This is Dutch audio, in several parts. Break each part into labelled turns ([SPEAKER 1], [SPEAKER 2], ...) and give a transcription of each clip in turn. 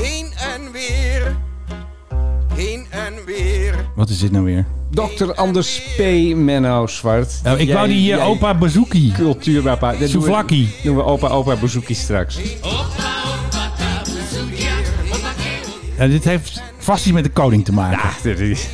[SPEAKER 1] en weer. Heen en weer.
[SPEAKER 2] Wat is dit nou weer?
[SPEAKER 3] Dr. Anders P. Menno Zwart.
[SPEAKER 2] Nou, ik
[SPEAKER 3] Jij-
[SPEAKER 2] wou die eh,
[SPEAKER 3] jij-
[SPEAKER 2] opa Bazooki.
[SPEAKER 3] Cultuurpapa. Dat doen we-
[SPEAKER 2] Souvlaki.
[SPEAKER 3] Doen we opa, opa, bezoekje straks.
[SPEAKER 2] Nou, dit heeft vast iets met de koning te maken.
[SPEAKER 3] Ach, dit is-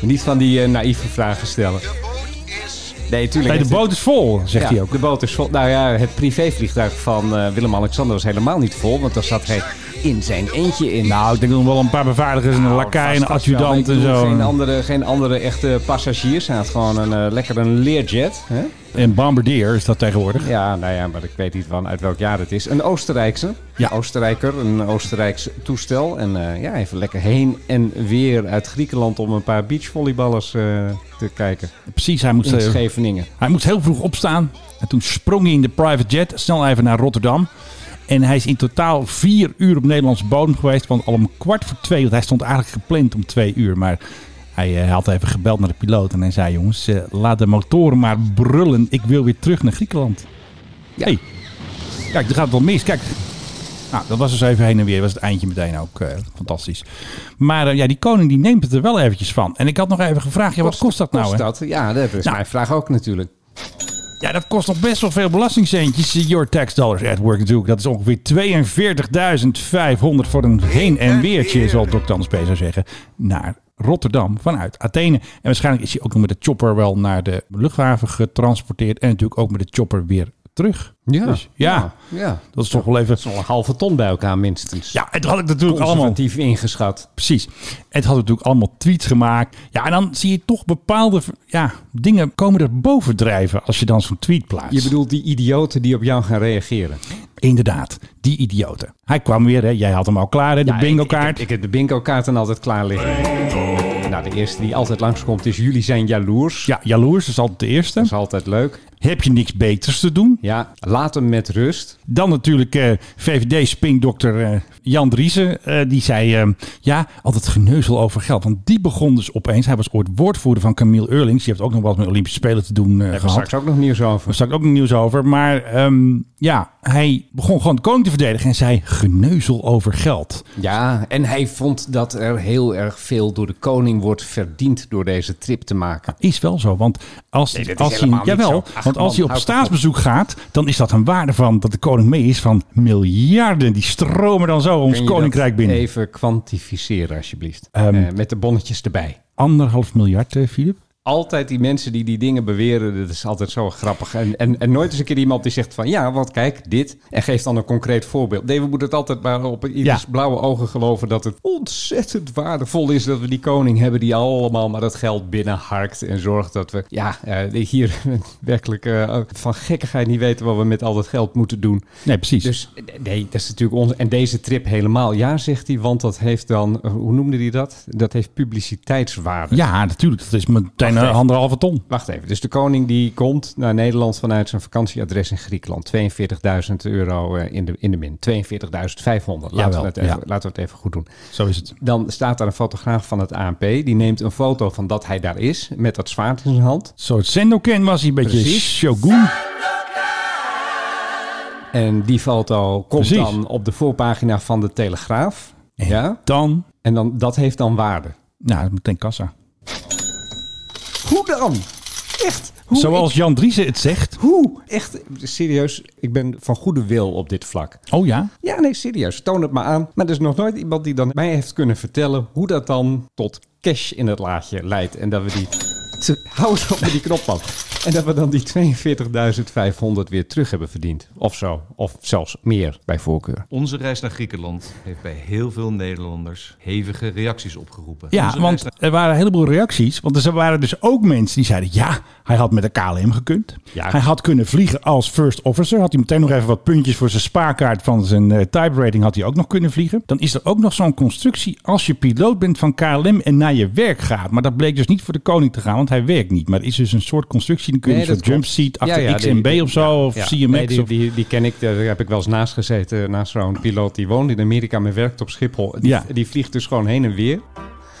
[SPEAKER 3] Niet van die eh, naïeve vragen stellen.
[SPEAKER 1] De boot is
[SPEAKER 3] Nee, tuurlijk.
[SPEAKER 2] Nee, de
[SPEAKER 3] Het-
[SPEAKER 2] boot is vol, zegt
[SPEAKER 3] ja,
[SPEAKER 2] hij ook.
[SPEAKER 3] De boot is vol. Nou ja, het privévliegtuig van eh, Willem-Alexander was helemaal niet vol, want daar zat hij in zijn eentje in. Nou,
[SPEAKER 2] Nou, ik denk nog wel een paar beveiligers en een lakai en een
[SPEAKER 3] Vast wel, maar ik
[SPEAKER 2] adjudant en
[SPEAKER 3] bedoel,
[SPEAKER 2] zo.
[SPEAKER 3] Geen andere, geen andere echte passagiers. Hij had gewoon een, eh, lekker een leerjet. Hè?
[SPEAKER 2] En Bombardier is dat tegenwoordig.
[SPEAKER 3] Ja, nou ja, maar ik weet niet van uit welk jaar het is. Een Oostenrijkse.
[SPEAKER 2] Ja.
[SPEAKER 3] Oostenrijker, een Oostenrijks toestel. En eh, ja, even lekker heen en weer uit Griekenland om een paar beachvolleyballers eh, te kijken.
[SPEAKER 2] Precies, hij moest,
[SPEAKER 3] In
[SPEAKER 2] eh,
[SPEAKER 3] Scheveningen.
[SPEAKER 2] hij moest heel vroeg opstaan. En toen sprong hij in de private jet, snel even naar Rotterdam. En hij is in totaal vier uur op Nederlandse bodem geweest. Want al om kwart voor twee, want hij stond eigenlijk gepland om twee uur. Maar hij eh, had even gebeld naar de piloot en hij zei... Jongens, eh, laat de motoren maar brullen. Ik wil weer terug naar Griekenland.
[SPEAKER 3] Ja.
[SPEAKER 2] Hey, kijk, er gaat wel mis. Kijk, nou, dat was dus even heen en weer. Dat was het eindje meteen ook. eh, fantastisch. Maar eh, ja, die koning die neemt het er wel eventjes van. En ik had nog even gevraagd, ja, wat kost dat nou?
[SPEAKER 3] Kost
[SPEAKER 2] hè?
[SPEAKER 3] dat? Ja, dat is
[SPEAKER 2] Nou.
[SPEAKER 3] mijn vraag ook natuurlijk.
[SPEAKER 2] Ja, dat kost nog best wel veel belastingcentjes. eh, Your tax dollars at work natuurlijk. Dat is ongeveer 42.500 voor een heen en weertje, zal Dr. Anders P. zou zeggen, naar Rotterdam vanuit Athene. En waarschijnlijk is hij ook nog met de chopper wel naar de luchthaven getransporteerd. En natuurlijk ook met de chopper weer terug.
[SPEAKER 3] Ja.
[SPEAKER 2] Dus ja,
[SPEAKER 3] Ja. ja.
[SPEAKER 2] dat is toch wel even...
[SPEAKER 3] Een halve ton bij elkaar minstens.
[SPEAKER 2] Ja, en dat had ik natuurlijk allemaal...
[SPEAKER 3] Conservatief ingeschat.
[SPEAKER 2] Precies. Het had natuurlijk allemaal tweets gemaakt. Ja, en dan zie je toch bepaalde ja, dingen komen er bovendrijven als je dan zo'n tweet plaatst.
[SPEAKER 3] Je bedoelt die idioten die op jou gaan reageren.
[SPEAKER 2] Inderdaad, die idioten. Hij kwam weer, hè? jij had hem al klaar, hè? de bingo
[SPEAKER 3] Ik,
[SPEAKER 2] kaart.
[SPEAKER 3] heb- ik heb de bingo kaarten altijd klaar liggen. Nou, de eerste die altijd langskomt is jullie zijn jaloers.
[SPEAKER 2] Ja, jaloers is altijd de
[SPEAKER 3] Dat
[SPEAKER 2] eerste.
[SPEAKER 3] is altijd leuk.
[SPEAKER 2] Heb je niks beters te doen?
[SPEAKER 3] Ja, laat hem met rust.
[SPEAKER 2] Dan natuurlijk eh, VVD-spinkdokter eh, Jan Driessen. eh, die zei, eh, ja, altijd geneuzel over geld. Want die begon dus opeens, hij was ooit woordvoerder van Camille Eurlings. Die heeft ook nog wat met Olympische Spelen te doen eh,
[SPEAKER 3] Daar
[SPEAKER 2] gehad.
[SPEAKER 3] straks ook nog nieuws over.
[SPEAKER 2] Daar staat ook nog nieuws over. Maar ehm, ja, hij begon gewoon de koning te verdedigen en zei geneuzel over geld.
[SPEAKER 3] Ja, en hij vond dat er heel erg veel door de koning wordt verdiend door deze trip te maken.
[SPEAKER 2] Is wel zo, want als,
[SPEAKER 3] dat is
[SPEAKER 2] als hij,
[SPEAKER 3] helemaal niet
[SPEAKER 2] jawel,
[SPEAKER 3] zo. Ach,
[SPEAKER 2] want
[SPEAKER 3] man,
[SPEAKER 2] als hij op
[SPEAKER 3] houd toch
[SPEAKER 2] staatsbezoek gaat, dan is dat een waarde van dat de koning mee is van miljarden. Die stromen dan zo ons
[SPEAKER 3] Kun je dat
[SPEAKER 2] koninkrijk binnen.
[SPEAKER 3] Even kwantificeren alsjeblieft. Eh, met de bonnetjes erbij.
[SPEAKER 2] Anderhalf miljard, eh, Filip.
[SPEAKER 3] altijd die mensen die die dingen beweren, dat is altijd zo grappig. En, en, en nooit eens een keer iemand die zegt van, ja, want kijk, dit. En geeft dan een concreet voorbeeld. Nee, we moeten het altijd maar op ieders
[SPEAKER 2] Ja.
[SPEAKER 3] blauwe ogen geloven dat het ontzettend waardevol is dat we die koning hebben die allemaal maar dat geld binnenharkt en zorgt dat we, ja, eh, hier werkelijk eh, van gekkigheid niet weten wat we met al dat geld moeten doen.
[SPEAKER 2] Nee, precies.
[SPEAKER 3] Dus eh, nee, dat is natuurlijk ons. En deze trip helemaal, ja, zegt hij, want dat heeft dan, eh, hoe noemde hij dat? Dat heeft publiciteitswaarde.
[SPEAKER 2] ja, natuurlijk. Dat is meteen een anderhalve ton.
[SPEAKER 3] Wacht even, dus de koning die komt naar Nederland vanuit zijn vakantieadres in Griekenland. 42.000 euro eh, in de, in de min. 42.500. Laten,
[SPEAKER 2] Jawel,
[SPEAKER 3] we het even-
[SPEAKER 2] ja.
[SPEAKER 3] laten we het even goed doen.
[SPEAKER 2] Zo is het.
[SPEAKER 3] Dan staat daar een fotograaf van het ANP. Die neemt een foto van dat hij daar is, met dat zwaard in zijn hand.
[SPEAKER 2] Zo, het Sendoken was hij een beetje
[SPEAKER 3] Precies.
[SPEAKER 2] shogun.
[SPEAKER 3] En die foto komt
[SPEAKER 2] Precies.
[SPEAKER 3] dan op de voorpagina van de Telegraaf. Ja?
[SPEAKER 2] Dan,
[SPEAKER 3] En dan, dat heeft dan waarde.
[SPEAKER 2] nou, meteen kassa.
[SPEAKER 3] Hoe dan? Echt? Hoe
[SPEAKER 2] Zoals
[SPEAKER 3] ik-
[SPEAKER 2] Jan Driessen het zegt.
[SPEAKER 3] hoe? Echt, serieus, ik ben van goede wil op dit vlak.
[SPEAKER 2] Oh ja,
[SPEAKER 3] Ja, nee, serieus. Toon het maar aan. Maar er is nog nooit iemand die dan mij heeft kunnen vertellen hoe dat dan tot cash in het laadje leidt. En dat we die. Te, hou eens op met die knop, man. En dat we dan die 42.500 weer terug hebben verdiend. Of zo. Of zelfs meer bij voorkeur.
[SPEAKER 4] Onze reis naar Griekenland heeft bij heel veel Nederlanders hevige reacties opgeroepen.
[SPEAKER 2] Ja,
[SPEAKER 4] Onze
[SPEAKER 2] want er waren een heleboel reacties. Want er waren dus ook mensen die zeiden... ja, hij had met de KLM gekund.
[SPEAKER 3] Ja.
[SPEAKER 2] Hij had kunnen vliegen als first officer. Had hij meteen nog even wat puntjes voor zijn spaarkaart... van zijn eh, type rating had hij ook nog kunnen vliegen. Dan is er ook nog zo'n constructie... als je piloot bent van KLM en naar je werk gaat. Maar dat bleek dus niet voor de koning te gaan... want hij werkt niet. Maar er is dus een soort constructie... dan kun je
[SPEAKER 3] Nee,
[SPEAKER 2] zo'n
[SPEAKER 3] dat klopt.
[SPEAKER 2] jump seat achter
[SPEAKER 3] Ja, ja,
[SPEAKER 2] XMB
[SPEAKER 3] die-
[SPEAKER 2] of zo... of
[SPEAKER 3] Ja,
[SPEAKER 2] CMX
[SPEAKER 3] nee, die,
[SPEAKER 2] of...
[SPEAKER 3] die, die ken ik, daar heb ik wel eens naast gezeten. Naast zo'n piloot die woont in Amerika, maar werkt op Schiphol. Die,
[SPEAKER 2] Ja.
[SPEAKER 3] die vliegt dus gewoon heen en weer.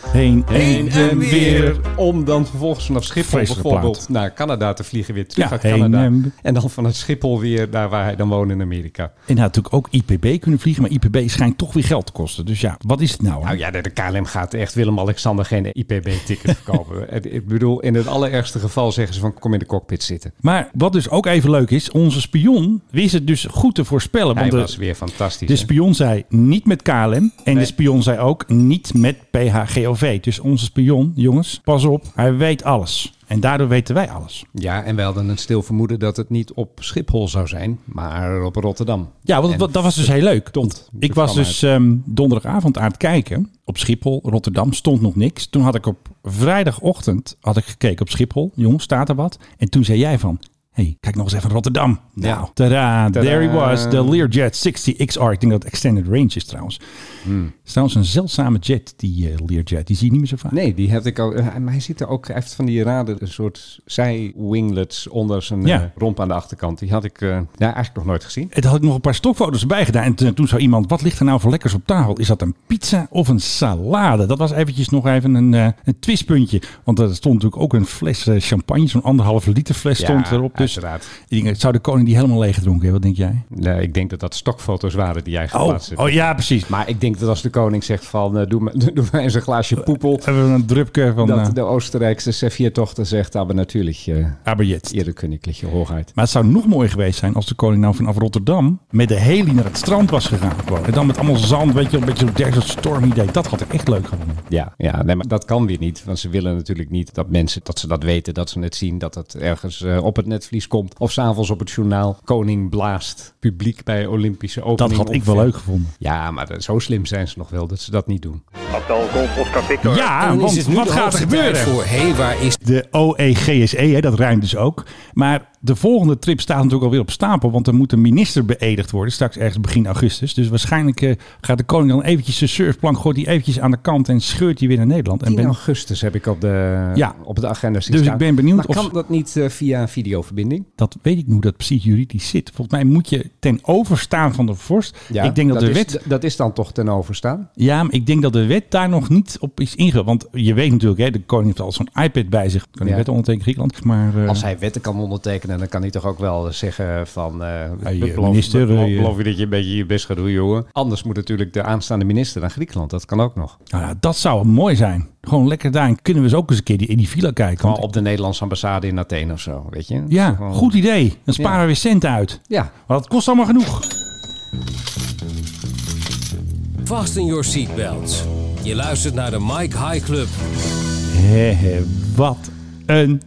[SPEAKER 2] Heen en,
[SPEAKER 1] Heen en weer.
[SPEAKER 3] Om dan vervolgens vanaf Schiphol
[SPEAKER 2] Vreselijke
[SPEAKER 3] bijvoorbeeld
[SPEAKER 2] plaat.
[SPEAKER 3] naar Canada te vliegen, weer terug
[SPEAKER 2] Ja,
[SPEAKER 3] naar
[SPEAKER 2] heen
[SPEAKER 3] Canada.
[SPEAKER 2] en-
[SPEAKER 3] En... dan vanuit Schiphol weer daar waar hij dan woont in Amerika.
[SPEAKER 2] En hij had natuurlijk ook IPB kunnen vliegen, maar IPB schijnt toch weer geld te kosten. Dus ja, wat is het nou? hè?
[SPEAKER 3] Nou ja, de de KLM gaat echt Willem-Alexander geen IPB-ticket verkopen. En Ik bedoel, in het allerergste geval zeggen ze van kom in de cockpit zitten.
[SPEAKER 2] Maar wat dus ook even leuk is, onze spion wist het dus goed te voorspellen.
[SPEAKER 3] Hij
[SPEAKER 2] want de-
[SPEAKER 3] was weer fantastisch.
[SPEAKER 2] De
[SPEAKER 3] hè?
[SPEAKER 2] spion zei niet met KLM. En de spion zei ook niet met PHGOV. Dus onze spion, jongens, pas op. Hij weet alles. En daardoor weten wij alles.
[SPEAKER 3] Ja, en we hadden een stil vermoeden dat het niet op Schiphol zou zijn, maar op Rotterdam.
[SPEAKER 2] Ja, want
[SPEAKER 3] En
[SPEAKER 2] dat- dat was dus heel leuk.
[SPEAKER 3] verdomd,
[SPEAKER 2] Ik was
[SPEAKER 3] programma
[SPEAKER 2] dus ehm, donderdagavond aan het kijken. Op Schiphol, Rotterdam, stond nog niks. Toen had ik op vrijdagochtend had ik gekeken op Schiphol. Jongens, staat er wat? En toen zei jij van... hey, kijk nog eens even Rotterdam. Nou,
[SPEAKER 3] Ja.
[SPEAKER 2] tada, there he
[SPEAKER 3] Tadaa.
[SPEAKER 2] was. De Learjet 60XR. Ik denk dat het extended range is trouwens.
[SPEAKER 3] Hmm.
[SPEAKER 2] Het is trouwens een zeldzame jet, die eh, Learjet. Die zie je niet meer zo vaak.
[SPEAKER 3] Nee, die heb ik al. eh, Maar hij ziet er ook. Hij heeft van die raden een soort zij-winglets onder zijn
[SPEAKER 2] Ja.
[SPEAKER 3] eh, romp aan de achterkant. Die had ik eh, ja, eigenlijk nog nooit gezien.
[SPEAKER 2] Het had ik nog een paar stokfoto's bij gedaan. En toen, toen zei iemand, wat ligt er nou voor lekkers op tafel? Is dat een pizza of een salade? Dat was eventjes nog even een, eh, een twistpuntje. Want er stond natuurlijk ook een fles eh, champagne. Zo'n anderhalve liter fles stond erop. Dus
[SPEAKER 3] uiteraard.
[SPEAKER 2] ik denk, zou de koning die helemaal leeg gedronken hebben? Wat denk jij?
[SPEAKER 3] Nee, ik denk dat dat stokfoto's waren die jij
[SPEAKER 2] Oh,
[SPEAKER 3] geplaatst hebt.
[SPEAKER 2] oh ja, precies.
[SPEAKER 3] Maar ik denk dat als de koning zegt van eh, doe, mij, doe mij eens een glaasje poepel.
[SPEAKER 2] Hebben we een drupke van eh
[SPEAKER 3] Dat de Oostenrijkse Serviertochter zegt, aber natuurlijk, eh
[SPEAKER 2] Aberjet.
[SPEAKER 3] ihre koninklijke hoogheid.
[SPEAKER 2] Maar het zou nog mooier geweest zijn als de koning nou vanaf Rotterdam met de heli naar het strand was gegaan. Gewoon. En dan met allemaal zand, weet je, wel, een beetje zo'n Desert Storm idee. Dat had ik echt leuk gevonden.
[SPEAKER 3] Ja, ja nee, maar dat kan weer niet. Want ze willen natuurlijk niet dat mensen dat ze dat weten, dat ze het zien, dat het ergens eh, op het netvlies komt. Of s'avonds op het journaal. Koning blaast publiek bij Olympische
[SPEAKER 2] Dat
[SPEAKER 3] opening.
[SPEAKER 2] had ik
[SPEAKER 3] ongeveer.
[SPEAKER 2] wel leuk gevonden.
[SPEAKER 3] Ja, maar dat- zo slim zijn ze nog wel dat ze dat niet doen.
[SPEAKER 5] Hotel Golf Oscar Victor.
[SPEAKER 2] Ja,
[SPEAKER 6] Dan
[SPEAKER 2] Ah, want
[SPEAKER 6] is het nu
[SPEAKER 2] wat
[SPEAKER 6] de
[SPEAKER 2] gaat er
[SPEAKER 6] hoogste
[SPEAKER 2] gebeuren?
[SPEAKER 6] tijd Voor, hey, waar is
[SPEAKER 2] De E OEGSE, hè, dat ruimt dus ook. Maar de volgende trip staat natuurlijk alweer op stapel. Want er moet een minister beëdigd worden. Straks ergens begin augustus. Dus waarschijnlijk eh, gaat de koning dan eventjes de surfplank... gooit die eventjes aan de kant en scheurt die weer naar Nederland. En
[SPEAKER 3] 10
[SPEAKER 2] ben,
[SPEAKER 3] augustus heb ik op de,
[SPEAKER 2] Ja.
[SPEAKER 3] op de agenda zien
[SPEAKER 2] Dus
[SPEAKER 3] staan.
[SPEAKER 2] ik ben benieuwd
[SPEAKER 3] maar
[SPEAKER 2] of-
[SPEAKER 3] kan dat niet eh, via een videoverbinding?
[SPEAKER 2] dat weet ik niet hoe dat precies juridisch zit. Volgens mij moet je ten overstaan van de vorst. ik denk dat, de
[SPEAKER 3] is,
[SPEAKER 2] wet...
[SPEAKER 3] Dat is dan toch ten overstaan?
[SPEAKER 2] Ja, maar ik denk dat de wet daar nog niet op is ingegaan. Want je weet natuurlijk, hè, de koning heeft al zo'n iPad bij zich. Kan die
[SPEAKER 3] Ja.
[SPEAKER 2] wet ondertekenen Griekenland. Maar, eh,
[SPEAKER 3] Als hij wetten kan ondertekenen, dan kan hij toch ook wel zeggen van... eh
[SPEAKER 2] Hey,
[SPEAKER 3] beloof-
[SPEAKER 2] minister,
[SPEAKER 3] beloof-
[SPEAKER 2] eh, je-
[SPEAKER 3] beloof je dat je een beetje je best gaat doen, jongen. Anders moet natuurlijk de aanstaande minister naar Griekenland. Dat kan ook nog.
[SPEAKER 2] nou ja, dat zou mooi zijn. Gewoon lekker daar. En kunnen we eens ook eens een keer die, in die villa kijken.
[SPEAKER 3] Gewoon
[SPEAKER 2] Want
[SPEAKER 3] op de Nederlandse ambassade in Athene of zo, weet je?
[SPEAKER 2] Ja,
[SPEAKER 3] Gewoon-
[SPEAKER 2] goed idee. Dan sparen
[SPEAKER 3] Ja.
[SPEAKER 2] we weer centen uit.
[SPEAKER 3] Ja,
[SPEAKER 2] Maar dat kost allemaal genoeg.
[SPEAKER 6] Fasten Your Seatbelts. Je luistert naar de Mike High Club.
[SPEAKER 2] Hehe, wat een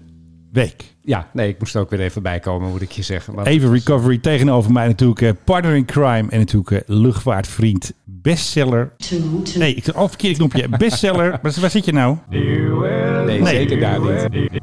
[SPEAKER 2] week.
[SPEAKER 3] ja, nee, ik moest er ook weer even bijkomen, moet ik je zeggen. Want-
[SPEAKER 2] Even recovery tegenover mij natuurlijk. eh, partner in crime en natuurlijk eh, luchtvaartvriend. Bestseller.
[SPEAKER 7] two, two.
[SPEAKER 2] Nee, ik zit al verkeerd knopje. Bestseller. Waar, waar zit je nou?
[SPEAKER 3] nee, zeker daar niet.